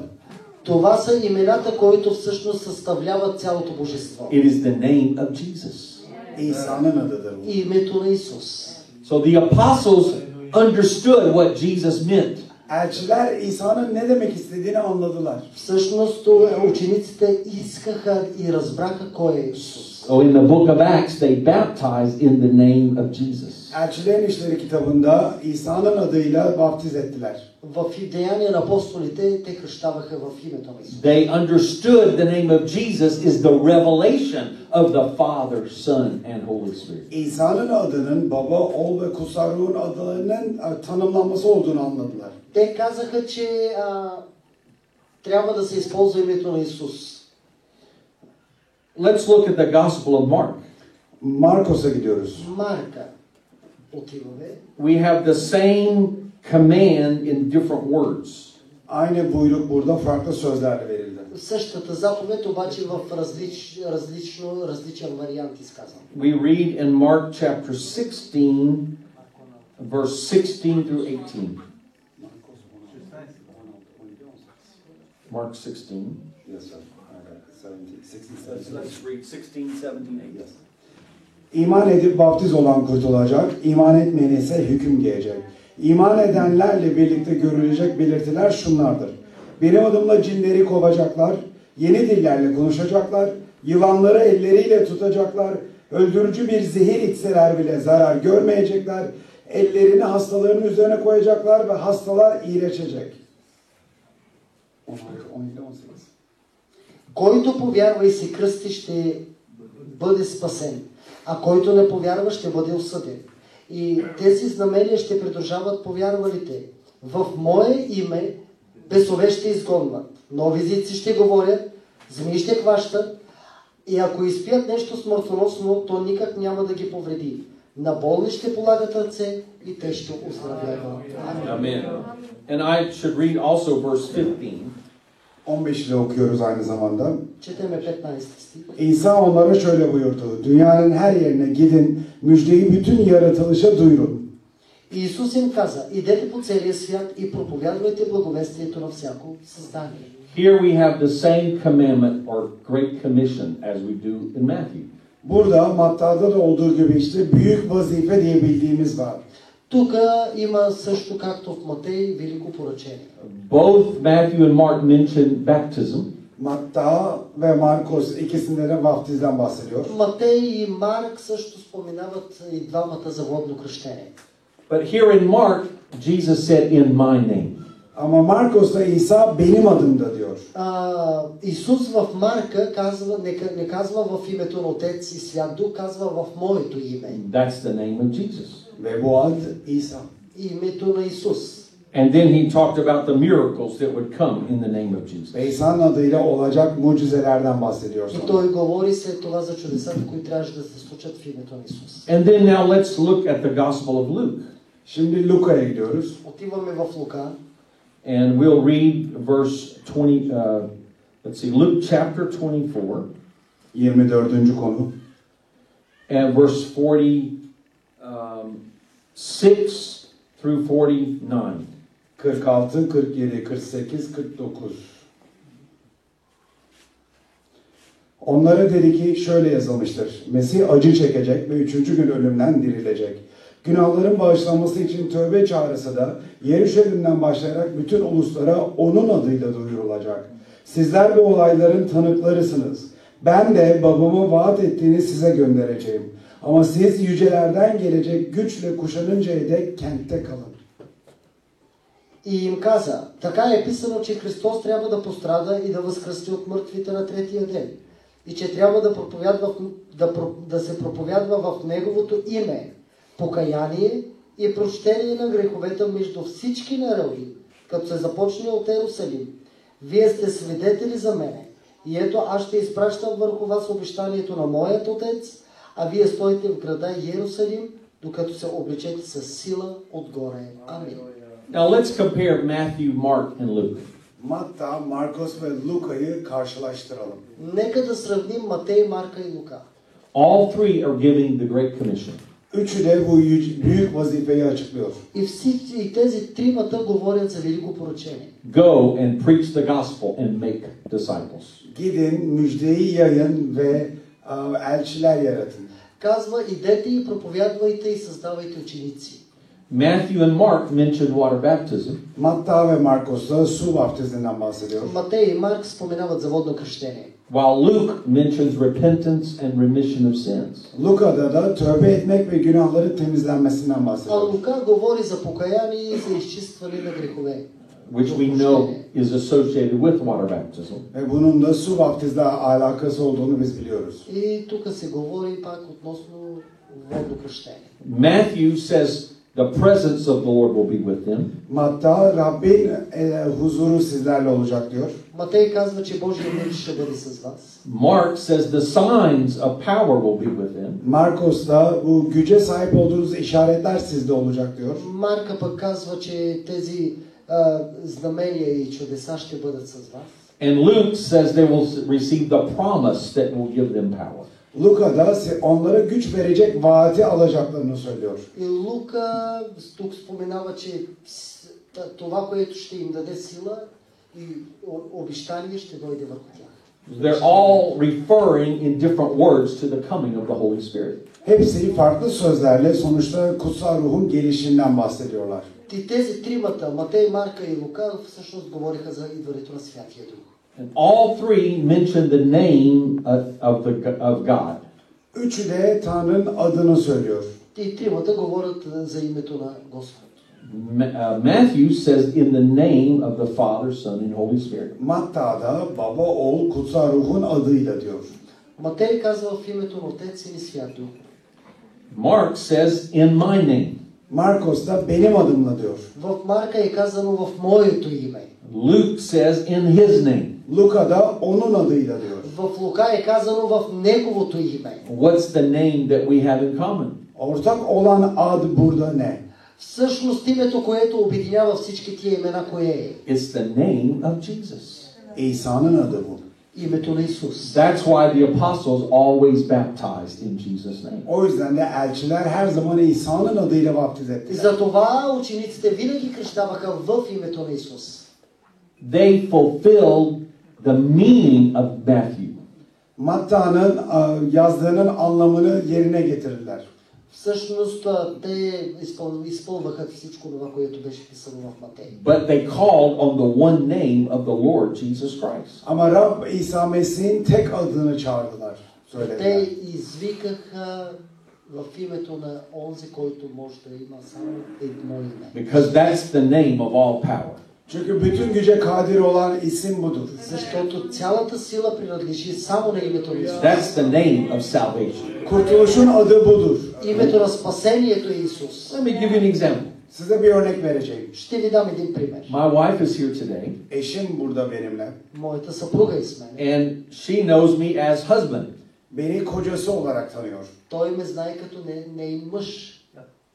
Това са имената, които всъщност съставляват цялото божество.
It is the name of Jesus.
İsa'nın adıdır bu.
И името на Исус.
So the apostles understood what Jesus meant.
Elçiler İsa'nın ne demek istediğini anladılar.
Всъщност у- учениците искаха и разбраха кой е Исус.
Oh, in the book of Acts, they baptized in the name of Jesus.
Elçilerin İşleri kitabında İsa'nın adıyla baptiz ettiler.
В Деяния на апостолите те кръщаваха в името на Исус.
They understood the name of Jesus is the revelation of the Father, Son, and Holy Spirit.
İsa'nın adının baba, oğul ve kutsal ruhun adlarının e, tanımlanması olduğunu anladılar.
Те казаха, че а, трябва да се използва името на Исус.
Let's look at the Gospel of Mark.
Markos'a gidiyoruz.
Марка отиваме.
We have the same command in different words.
Aynı buyruk burada farklı sözlerle verildi.
Същата заповед, обаче в различ, различно, различен вариант изказан.
We read in Mark chapter 16, verse 16 through 18. Mark 16.
Let's, let's read 16, 17, 18.
İman edip baptiz olan kurtulacak, iman etmeyen ise hüküm giyecek. İman edenlerle birlikte görülecek belirtiler şunlardır. Benim adımla cinleri kovacaklar, yeni dillerle konuşacaklar, yılanları elleriyle tutacaklar, öldürücü bir zehir içseler bile zarar görmeyecekler, ellerini hastaların üzerine koyacaklar ve hastalar iyileşecek. 16, 17, 18.
Който повярва и се кръсти, ще бъде спасен, а който не повярва, ще бъде осъден. И тези знамения ще придружават повярвалите. В мое име бесове ще изгонват, нови езици ще говорят, змии ще хващат, и ако изпият нещо смъртоносно, то никак няма да ги повреди. На болни ще полагат ръце и те ще оздравяват. Амин.
Amen. And I should read also verse 15.
15 ile okuyoruz aynı zamanda.
Четеме 15 стих.
İsa onlara şöyle buyurdu. Dünyanın her yerine gidin, müjdeyi bütün yaratılışa duyurun.
Иисус им каза, идете по целия свят и проповядвайте благовестието на всяко създание.
Here we have the same commandment or great commission as we do in Matthew.
Burada Matta'da da olduğu gibi işte büyük vazife diye bildiğimiz var.
Тук има също както в Матей велико поръчение.
Both Matthew and Mark mention baptism.
Matta ve Markus ikisinde de vaftizden bahsediyor.
Матей и Марк също споменават и двамата за водно кръщение.
But here in Mark, Jesus said, In my name.
Ama Markus da İsa benim adımda diyor.
А, Исус в Марка казва, не, ка- не казва в името на Отец и Свят Дух, казва в моето име.
That's the name of Jesus.
Ve bu ad İsa.
Името на Исус.
And then he talked about the miracles that would come in the name of Jesus.
Ve İsa'nın adıyla olacak mucizelerden bahsediyor.
И
sonra.
той говори след това за чудесата, които трябваше да се случат в името на Исус.
And then now let's look at the Gospel of Luke.
Şimdi Luka'ya gidiyoruz.
Отиваме в Лука,
And we'll read verse 20, uh, let's see, Luke chapter 24
24. konu.
and verse 46 um, six through 49.
46, 47, 48, 49. Onlara dedi ki şöyle yazılmıştır. Mesih acı çekecek ve üçüncü gün ölümden dirilecek. Günahların bağışlanması için tövbe çağrısı da Yeruşalim'den başlayarak bütün uluslara onun adıyla duyurulacak. Sizler bu olayların tanıklarısınız. Ben de babamın vaat ettiğini size göndereceğim. Ama siz yücelerden gelecek güçle kuşanıncaya dek kentte kalın.
И им каза, така е писано, че Христос трябва да пострада и да възкръсти от мъртвите на третия ден. И че трябва да, проповядва, в- да, про- да се проповядва в Неговото име покаяние и прощение на греховете между всички народи, като се започне от Ерусалим. Вие сте свидетели за мене. И ето аз ще изпращам върху вас обещанието на моят отец, а вие стойте в града Иерусалим, докато се облечете с сила отгоре. Амин.
Now let's compare Matthew, Mark, and Luke.
Matta, Markos ve Luka'yı karşılaştıralım.
Нека да сравним Матей, Марка и Лука.
All three are giving the Great Commission.
Üçü de bu yü- büyük vazifeyi açıklıyor.
И, всички, и тези тримата говорят за велико поръчение.
Go and preach the gospel and make disciples.
Gidin, müjdeyi yayın ve e, elçiler yaratın.
Казва, идете и проповядвайте и създавайте ученици.
Matthew and Mark mentioned water baptism.
Matta ve Markus'ta su vaftizinden bahsediyor.
Матей и Марк споменават за водно кръщение.
While Luke mentions repentance and remission of sins.
Luka'da da tövbe etmek ve günahları temizlenmesinden
А
bahsediyor.
Лука говори за покаяние и за изчистване на грехове.
which we know is associated with water baptism.
Ve bunun da su vaftizle alakası olduğunu biz biliyoruz.
И тук се говори пак относно водно кръщение.
Matthew says the presence of the Lord will be with them.
Matta Rabbin e, huzuru sizlerle olacak diyor.
Матей казва, че Божия мир ще бъде с вас.
Mark says the signs of power will be with them.
Markus da bu güce sahip olduğunuz işaretler sizde olacak diyor.
Марка пък казва, че тези а, знамения и чудеса ще бъдат с вас.
And Luke says they will receive the promise that will give them power.
Luka da se- onlara güç verecek vaati alacaklarını söylüyor.
И Лука тук споменава, че с- т- това, което ще им даде сила и о- обещание ще дойде върху тях.
They're all referring in different words to the coming of the Holy Spirit.
Hepsi farklı sözlerle sonuçta kutsal ruhun gelişinden bahsediyorlar.
И тези тримата, Матей, Марка и Лука, всъщност говориха за идването на Святия Дух.
And all three mention the name of, of, the, of God.
Üçü de Tanrı'nın adını söylüyor.
И тримата говорят а, за името на Господ.
Ma- uh, Matthew says, in the name of the Father, Son, and Holy Spirit.
Matta da baba, oğul, kutsal ruhun adıyla diyor.
Матей казва в името на Отец, Син и Свят Дух.
Mark says, In my name.
Markos da benim adımla diyor.
В Марка е казано в моето име.
Luke says, In his name.
Luka da onun adıyla diyor.
В Лука е казано в неговото име.
What's the name that we have in common?
Ortak olan ad burada ne?
Всъщност името, което обединява всички тия имена, кое е?
It's the name of Jesus.
İsa'nın adı bu.
Името на Исус.
That's why the apostles always baptized in Jesus' name.
O yüzden de elçiler her zaman İsa'nın adıyla vaftiz
И
ettiler.
затова учениците винаги кръщаваха в името на Исус.
They fulfilled the meaning of Matthew.
Matta'nın e, yazdığının anlamını yerine getirdiler.
Всъщност а, те изпъл... изпълваха всичко това, което беше писано в Матей.
But they called on the one name of the Lord Jesus Christ.
Ama Rab İsa Mesih'in tek adını çağırdılar. Söylediler.
Те извикаха в името на онзи, който може да има само едно име.
Because that's the name of all power.
Çünkü bütün güce kadir olan isim budur.
Защото цялата сила принадлежи само на името на Исус.
That's the name of salvation.
Kurtuluşun adı budur.
Името на спасението е Исус.
Let me give you an example.
Size bir örnek vereceğim.
Ще ви дам един пример.
My wife is here today.
Eşim burada benimle.
Моята съпруга е с мен.
and she knows me as husband.
Beni kocası olarak tanıyor.
Той ме знае като не, нейн мъж.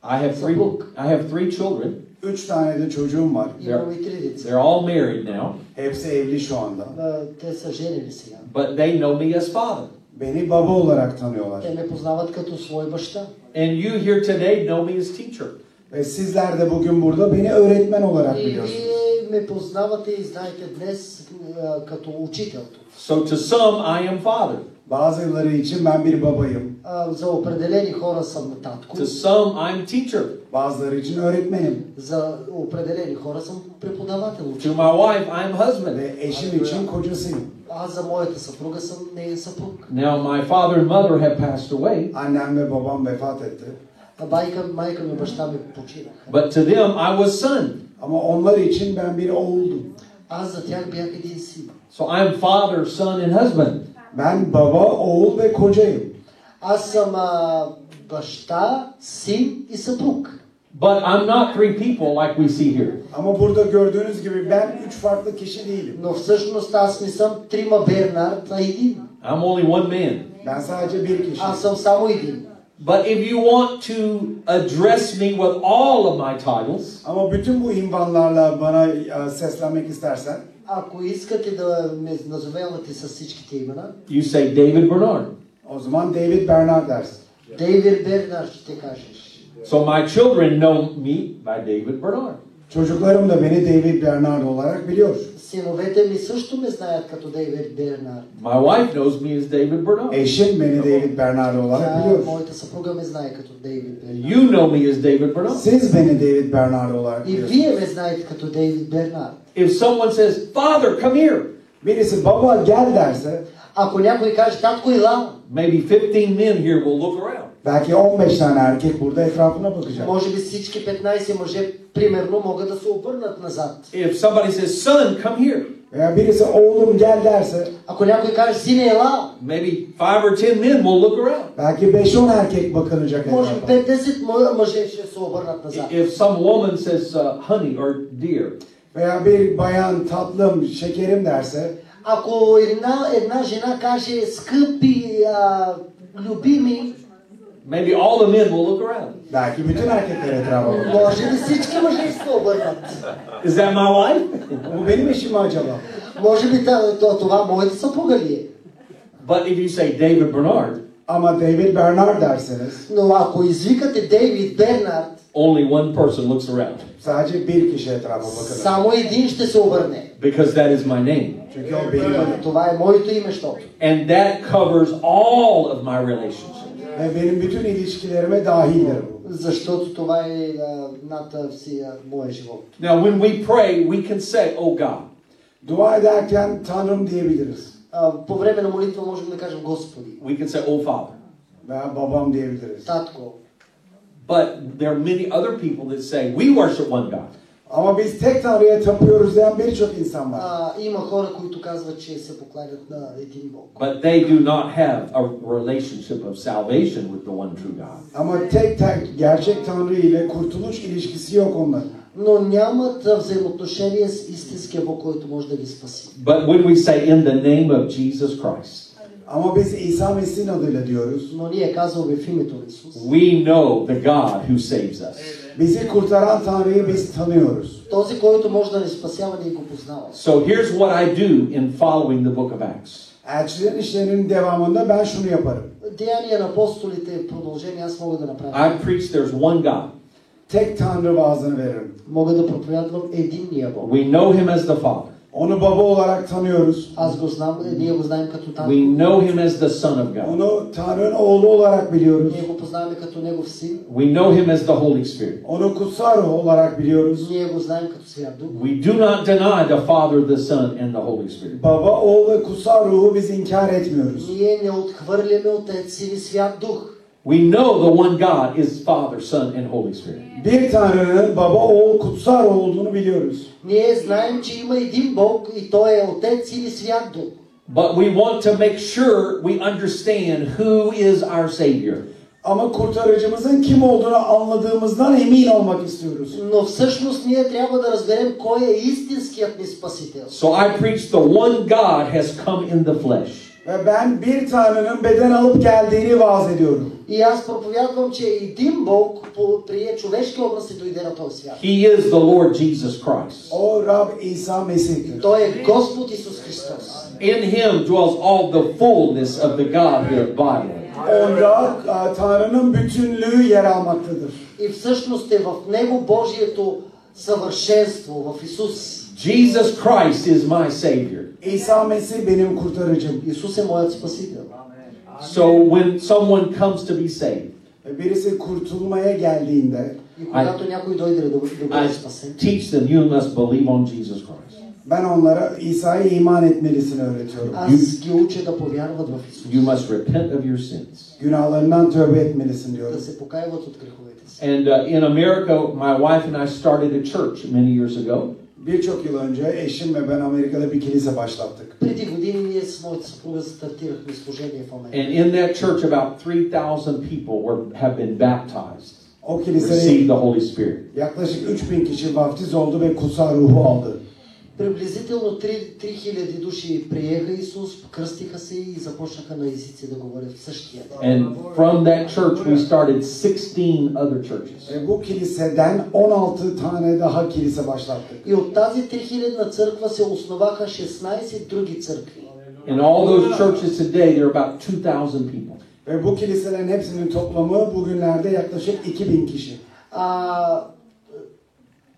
I have three.
Sabuk.
I have three children.
Üç tane de çocuğum var.
Имаме и три деца.
They're all married now,
Hepsi evli şu anda.
А, Те са женени сега.
but they know me as father.
Beni baba olarak tanıyorlar.
Те ме познават като свой баща.
And you here today know me as teacher.
Ve sizler de bugün burada beni öğretmen olarak
И
biliyorsunuz.
вие ме познавате и знаете днес а, като учител.
So to some, I am father.
Bazıları için ben bir babayım.
А, За определени хора съм татко.
To some, I'm teacher.
Bazıları için öğretmenim.
За определени хора съм преподавател.
To
учител.
my wife, I'm husband.
Ve eşim için kocasıyım.
Аз за моята съпруга съм неин съпруг.
Now my father and mother have passed away,
Annem ve babam vefat etti.
А Байка, майка ми, баща ми починаха.
but to them, I was son.
Ama onlar için ben bir oğuldum.
Аз за тях бях един син.
So I'm father, son, and husband.
Ben baba, oğul ve kocayım.
Аз съм а, баща, син и съпруг.
But I'm not three people like we see here.
Ama burada gördüğünüz gibi ben üç farklı kişi değilim.
Но всъщност аз не съм трима Бернард, а един.
I'm only one man.
Ben sadece bir kişiyim.
Аз съм само един.
But if you want to address me with all of my titles,
Ama bütün bu imbanlarla bana e, seslenmek istersen
Ако искате да ме назовавате с всичките имена,
you say David Bernard.
o zaman David Bernard dersin.
Дейвид Бернард ще кажеш.
So my children know me by David Bernard.
Çocuklarım da beni David Bernard olarak biliyor.
Синовете ми също ме знаят като Дейвид Бернард.
My wife knows me as David Bernard.
Eşim beni David Bernard olarak
Тя,
biliyor.
моята съпруга ме знае като Дейвид Бернард.
You know me as David Bernard.
Siz beni David Bernard olarak
И
biliyorsunuz.
вие ме знаете като Дейвид Бернард.
If someone says, Father, come here,
Birisi baba gel derse
Ако някой каже, татко Ила,
maybe 15 men here will look around.
belki 15 tane erkek burada etrafına bakacak.
може би всички 15 мъже примерно могат да се обърнат назад.
If somebody says, Son, come here,
Veya birisi oğlum gel derse
Ако някой каже, е сине Ела,
maybe five or 10 men will look around.
belki 5-10 erkek bakınacak
може би
etrafa.
50 мъ- мъже ще се обърнат назад.
If some woman says, uh, Honey or dear,
Veya bir bayan tatlım şekerim derse
Ако една, една жена каже, скъпи, а, любими,
maybe all the men will look around.
belki bütün erkekler etrafa bakacak.
може би всички мъже ще се обърнат.
Is that my wife?
Bu benim eşim mi acaba?
Може би та- то- това моята съпруга ли е?
But if you say David Bernard,
Ama David Bernard derseniz
Но ако извикате Дейвид Бернард,
only one person looks around
sadece bir kişi etrafa bakacak.
само един ще се обърне.
because that is my name.
Çünkü o benim adım.
Това е моето име, щото.
And that covers all of my relationships.
Ve benim bütün ilişkilerime dahildir bu.
Защото това е а, над всия моя живот.
Now, when we pray, we can say, Oh God.
Dua ederken Tanrım diyebiliriz.
А, по време на молитва можем да кажем Господи,
We can say, Oh Father.
Veya babam diyebiliriz.
Татко.
But there are many other people that say, We worship one God.
Ama biz tek Tanrı'ya tapıyoruz diyen birçok insan var.
А, има хора, които казват, че се покланят на един Бог.
But they do not have a relationship of salvation with the one true God.
Ama tek tek gerçek Tanrı ile kurtuluş ilişkisi yok onların.
Но нямат а, взаимоотношение с истинския Бог, който може да ги спаси.
But when we say, In the name of Jesus Christ,
Ama biz İsa Mesih'in adıyla diyoruz.
Но ние казваме в името на Исус.
we know the God who saves us.
Bizi kurtaran Tanrı'yı biz tanıyoruz.
Този, който може да ни спасява, ние го познаваме.
So here's what I do in following the book of Acts
Elçilerin işlerinin devamında ben şunu yaparım.
Деяния на апостолите, е продължение аз мога да направя.
I preach there's one God.
Tek Tanrı vaazını veririm.
Мога да проповядвам единния Бог.
We know him as the Father.
Onu baba olarak tanıyoruz.
Аз го знам, е, ние го знаем като Татко.
We know him as the Son of God.
Onu Tanrı'nın oğlu olarak biliyoruz.
Ние го познаваме като Негов син.
We know him as the Holy Spirit.
Onu kutsal ruh olarak biliyoruz.
Ние го знаем като Свят Дух.
We do not deny the Father, the Son, and the Holy Spirit.
Baba, oğul ve kutsal ruhu biz inkar etmiyoruz.
Ние не отхвърляме Отец, Син и Свят Дух.
We know the one God is Father, Son, and Holy Spirit.
Bir Tanrı'nın baba, oğul, kutsal ruh olduğunu biliyoruz.
Ние знаем, че има един Бог и Той е Отец, Син и Свят Дух.
But we want to make sure we understand who is our Savior.
Ama kurtarıcımızın kim olduğunu anladığımızdan emin olmak istiyoruz.
Но всъщност ние трябва да разберем кой е истинският ни Спасител.
So I preach the one God has come in the flesh.
Ve ben bir Tanrı'nın beden alıp geldiğini vaaz ediyorum.
И аз проповядвам, че един Бог по- прие човешки образ и дойде на този свят.
He is the Lord Jesus Christ.
O Rab İsa Mesih'tir.
Той е Господ Исус Христос.
In him dwells all the fullness of the Godhead bodily.
Onda e, Tanrı'nın bütünlüğü yer almaktadır.
И всъщност е в Него Божието съвършенство, в Исус.
Jesus Christ is my Savior.
İsa Mesih benim kurtarıcım.
Исус е моят Спасител.
So when someone comes to be saved,
Ve E, Birisi kurtulmaya geldiğinde
И когато някой дойде да, бъ- да
I
бъде спасен,
teach them you must believe on Jesus Christ.
ben onlara İsa'ya iman etmelisini öğretiyorum.
аз ги уча да повярват в Исус.
You must repent of your sins.
Günahlarından tövbe etmelisin
Да
diyoruz.
се покаяват от греховете си.
And uh, in America, my wife and I started a church many years ago.
Birçok yıl önce eşim ve ben Amerika'da bir kilise başlattık.
Преди години ние с моята съпруга стартирахме служение в Америка.
And in that church, about 3,000 people were, have been baptized,
O kilisede
received the Holy Spirit.
yaklaşık 3000 kişi vaftiz oldu ve kutsal ruhu aldı.
Е.
Приблизително 3, 3000 души приеха Исус, кръстиха се и започнаха на езици да говорят в същия ден.
And from that church, we started 16 other churches.
Ve bu kiliseden 16 tane daha kilise başlattık.
И от тази 3000 църква се основаха 16 други църкви.
In all those churches today, there are about 2,000 people.
Ve bu kiliselerin hepsinin toplamı bugünlerde yaklaşık 2000 kişi.
А,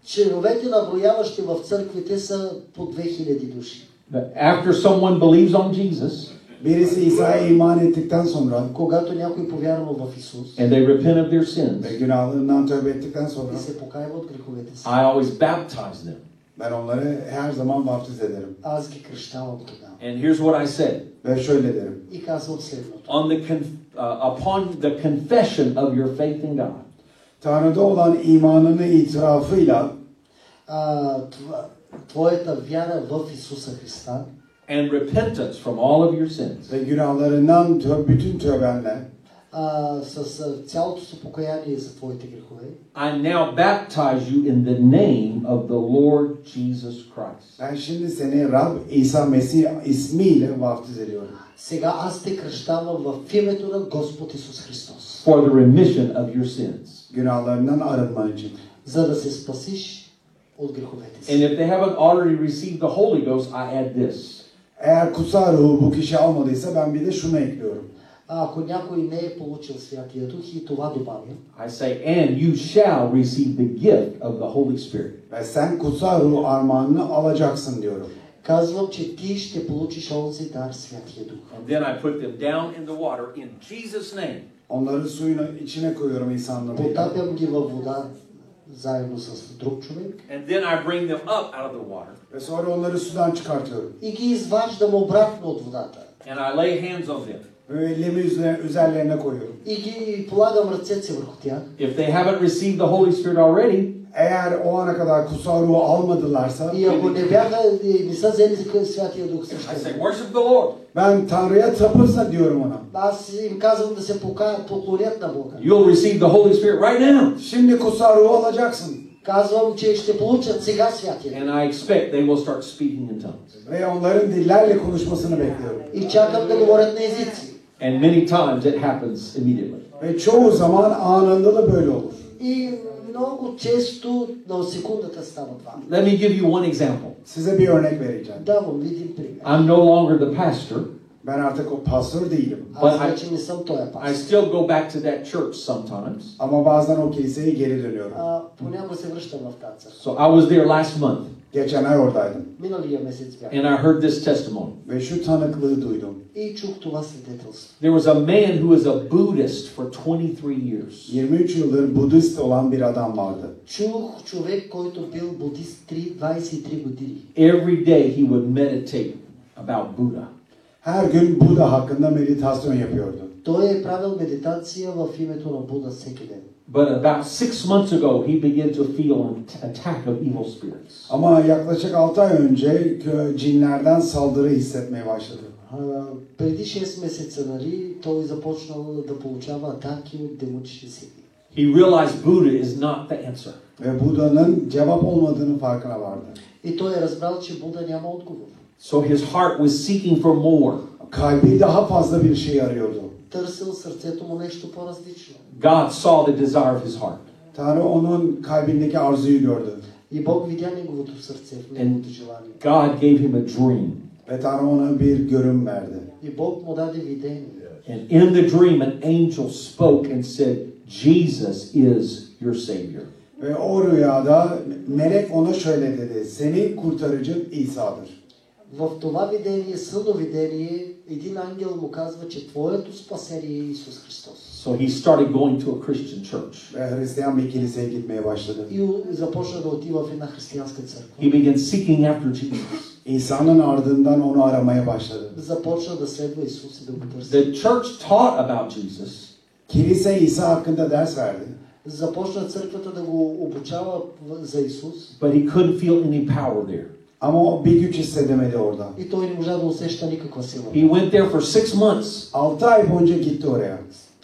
Членовете на брояващи в църквите са по 2000 души.
But after someone believes on Jesus
Birisi İsa'ya iman ettikten sonra
Когато някой повярва в Исус
and they repent of their sins,
ve günahlarından tövbe ettikten sonra
и се покаява от греховете си,
I always baptize them.
ben onları her zaman vaftiz ederim.
аз ги кръщавам тогава.
And here's what I say:
Ve şöyle derim.
И казвам следното.
on the con- uh, upon the confession of your faith in God,
Tanrı'da olan imanını itirafıyla
А, това, твоята вяра в Исуса Христа
and repentance from all of your sins,
ve günahlarından tö- bütün tövbenle
а, с а, цялото си покаяние за твоите грехове,
I now baptize you in the name of the Lord Jesus Christ.
ben şimdi seni Rab İsa Mesih ismiyle vaftiz ediyorum.
сега аз те кръщавам в името на Господ Исус Христос,
for the remission of your sins.
Günahlarından arınman için.
за да се спасиш от греховете
And
си.
if they haven't already received the Holy Ghost, I add this.
Eğer kutsal ruhu bu kişi almadıysa ben bir de şunu ekliyorum.
А ако някой не е получил Святия Дух и това добавя,
I say, and you shall receive the gift of the Holy Spirit.
Ve sen kutsal ruh armağanını alacaksın diyorum.
казвам, че ти ще получиш онзи дар Святия Дух.
And then I put them down in the water in Jesus' name.
Onları suyun içine koyuyorum insanlığı.
Потапям ги във вода заедно с друг човек
And then I bring them up out of the water.
Ve sonra onları sudan çıkartıyorum.
и ги изваждам обратно от водата.
And I lay hands on them.
Ve elimi üzerine, üzerlerine koyuyorum.
И ги полагам ръцете си върху тях.
If they haven't received the Holy Spirit already,
Eğer o ana kadar kutsal ruhu almadılarsa
И ако не бяха, и не са взели към Святия Дух
I say,
също.
worship the Lord.
ben Tanrı'ya tapırsa diyorum ona.
Аз им казвам да се покаят, поклонят на Бога.
You'll receive the Holy Spirit right now.
Şimdi kutsal ruhu alacaksın.
Казвам, че ще получат сега Святия Дух.
And I expect they will start speaking in tongues.
Ve onların dillerle konuşmasını bekliyorum.
И чакам да говорят на езици.
And many times it happens immediately.
Ve çoğu zaman anında da böyle olur.
И много често на секундата става това.
Let me give you one example.
Size bir örnek vereceğim.
Давам ви един пример.
I'm no longer the pastor.
Ben artık o pastör değilim.
Аз вече не съм този
I
пас.
still go back to that church sometimes.
Ama bazen o kiliseye geri dönüyorum.
А, понякога се връщам в тази църква.
So I was there last month
Geçen ay oradaydım.
Миналия месец бях.
and I heard this testimony.
Ve şu tanıklığı duydum.
И чух това свидетелство.
There was a man who was a Buddhist for 23 years.
23 yıldır Budist olan bir adam vardı.
Чух човек, който бил будист 3, 23 години.
Every day he would meditate about Buddha.
Her gün Buda hakkında meditasyon yapıyordu.
Той е правил медитация в името на Буда всеки ден.
But about six months ago, he began to feel an attack of evil spirits.
Ama yaklaşık 6 ay önce kö- cinlerden saldırı hissetmeye başladı.
А, преди 6 месеца, нали, той започнал да получава атаки от демонични сили.
He realized Buddha is not the answer.
Ve Buda'nın cevap olmadığını farkına vardı.
И той е разбрал, че Буда няма отговор.
So his heart was seeking for more.
Kalbi daha fazla bir şey arıyordu.
Търсил сърцето му нещо по-различно.
God saw the desire of his heart.
Tanrı onun kalbindeki arzuyu gördü.
И Бог видя неговото сърце, в неговото желание.
God gave him a dream.
Ve Tanrı ona bir görüm verdi.
И Бог му даде видение.
And in the dream, an angel spoke and said, Jesus is your Savior.
Ve o rüyada melek ona şöyle dedi. Seni kurtarıcın İsa'dır.
В това видение, съдно видение, един ангел му казва, че твоето спасение е Исус Христос.
So he started going to a Christian church.
Ve Hristiyan bir kiliseye gitmeye başladı.
И у- започна да отива в една християнска църква.
He began seeking after Jesus.
İsa'nın ardından onu aramaya başladı.
Започна да следва Исус и да го търси.
The church taught about Jesus,
Kilise İsa hakkında ders verdi.
Започна църквата да го обучава в- за Исус.
but he couldn't feel any power there.
Ama o bir güç hissedemedi orada.
И той не можа да усеща никаква сила.
He went there for six months,
6 ay boyunca gitti oraya.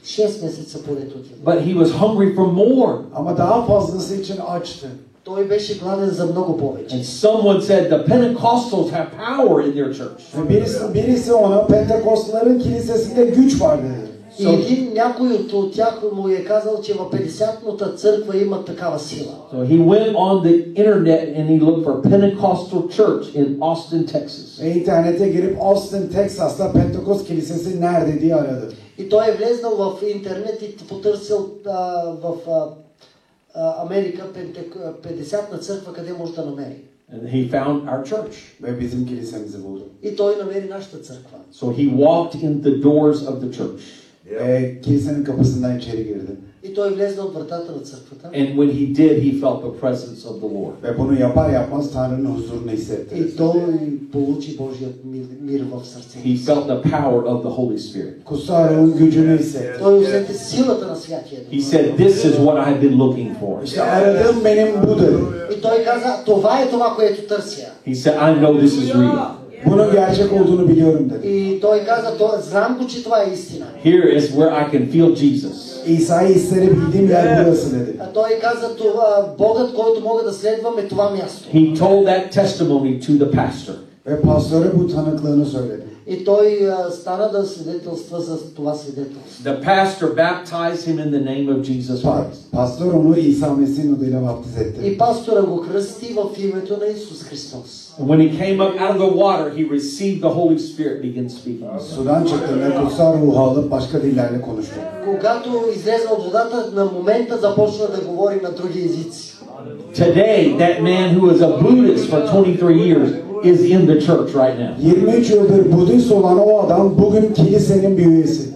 Шест месеца поред отива.
but he was hungry for more.
Ama daha fazlası için açtı.
Той беше гладен за много
And
повече.
someone said the Pentecostals have power in their church.
Ve birisi, birisi ona Pentekostların kilisesinde güç var dedi.
И един някой от, от тях му е казал, че в 50-ната църква има такава сила.
So he went on the internet and he looked for Pentecostal church in Austin, Texas.
Ve internete girip Austin, Texas'ta Pentekost kilisesi nerede diye aradı.
И той е влезнал в интернет и потърсил а, в а, а, Америка, Пентек... а, 50-на църква, къде може да намери.
And he found our church.
Ve bizim kilisemizi buldu.
И той намери нашата църква.
So he walked in the doors of the church.
Ve kilisenin kapısından içeri girdi.
И той влезе от вратата на църквата.
And when he did, he felt the presence of the Lord.
Ve bunu yapar yapmaz Tanrı'nın huzurunu hissetti.
И той получи Божият мир, мир в сърцето.
He felt the power of the Holy Spirit.
Kutsal Ruh'un gücünü hissetti.
Той усети силата на Святия Дух.
He said, This is what I have been looking for.
İşte aradığım benim budur.
И той каза, това е това, което търся.
He said, I know this is real.
Bunun gerçek olduğunu biliyorum dedi.
И той каза, «То- знам го, че това е истина.
Here is where I can feel Jesus.
İsa'yı hisleri bildiğim yer burası dedi.
А той каза, това, Богът, който мога да следвам е това място.
He told that testimony to the pastor.
Ve pastöre bu tanıklığını söyledi.
И той а, стана да свидетелства за това свидетелство.
The pastor baptized him in the name of
Pa-
Jesus Christ.
Pastör onu İsa Mesih'in adıyla baptiz etti.
И пастора го кръсти в името на Исус Христос.
And when he came up out of the water, he received the Holy Spirit, began speaking.
Sudan çıktığında kutsal ruhu alıp başka dillerle konuştu.
Когато излезе от водата, на момента започна да говори на други езици.
Today, that man who was a Buddhist for 23 years is in the church right now.
23 yıldır Budist olan o adam bugün kilisenin bir üyesi.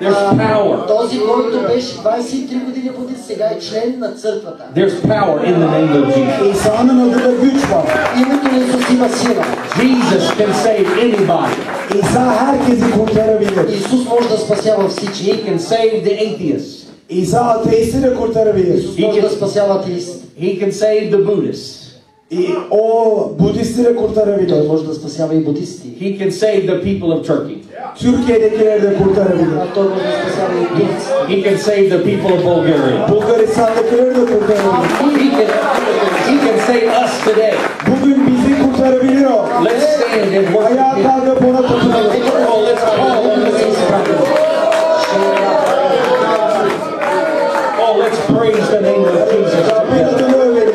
There's power.
Този, който беше 23 години будит, сега е член на църквата.
There's power in the name of Jesus.
İsa'nın adında güç var.
Името на Исус има сила.
Jesus can save anybody.
İsa herkesi kurtarabilir.
Исус може да спасява
He
всички.
can save the atheist.
İsa ateisti de kurtarabilir.
Исус може да спасява атеист.
He can save the Buddhist.
İ- O Budisti de
Той
kurtarabilir.
може да спасява и будисти.
He can save the people of Turkey.
Türkiye'dekileri de kurtarabilir.
А той може да спасява и турци.
He can save the people of Bulgaria.
Bulgaristan'dakileri de kurtarabilir.
He can, he can save us today.
Bugün bizi kurtarabilir o.
Let's stand and worship
Ayağa
him.
kalkıp ona tutunalım.
Come on, let's call on the name of Jesus. Oh, let's praise the name of Jesus
Rabbin
together.
adını övelim.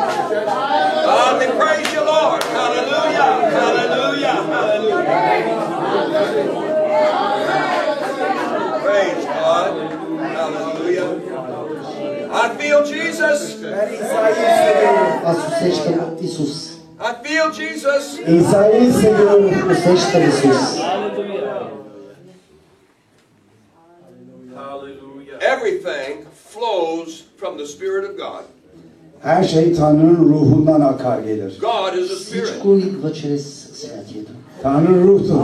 God, we Um, praise you, Lord. Hallelujah. Hallelujah. Hallelujah. Praise God. Hallelujah. I feel Jesus.
Ben İsa'yı hissediyorum.
Аз усещам Исус.
I feel Jesus.
İsa'yı hissediyorum.
Усещам Исус.
Everything flows from the Spirit of God.
Her şey Tanrı'nın ruhundan akar gelir.
God is a spirit.
Всичко идва чрез Святия Дух.
Tanrı ruhtur.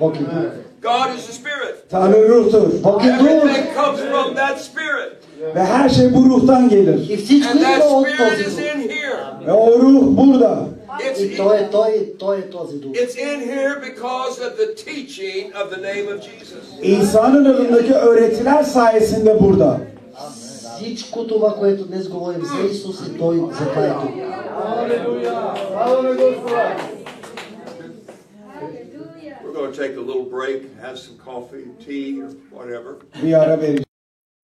Бог е Дух.
God is a spirit.
Tanrı ruhtur.
Бог е Дух.
Everything comes from that spirit.
Ve her şey bu ruhtan gelir.
И всичко
And that
идва от
spirit
този
is
Дух.
in here.
Ve o ruh burada.
It's
И
in,
той е, той е, той е този Дух.
it's in here because of the teaching of the name of Jesus.
İsa'nın adındaki öğretiler sayesinde burada.
Всичко това, което днес говорим за Исус и Той затова е тук.
We're going to take a little break, have some coffee, tea, or whatever.
Bir ara vereceğim.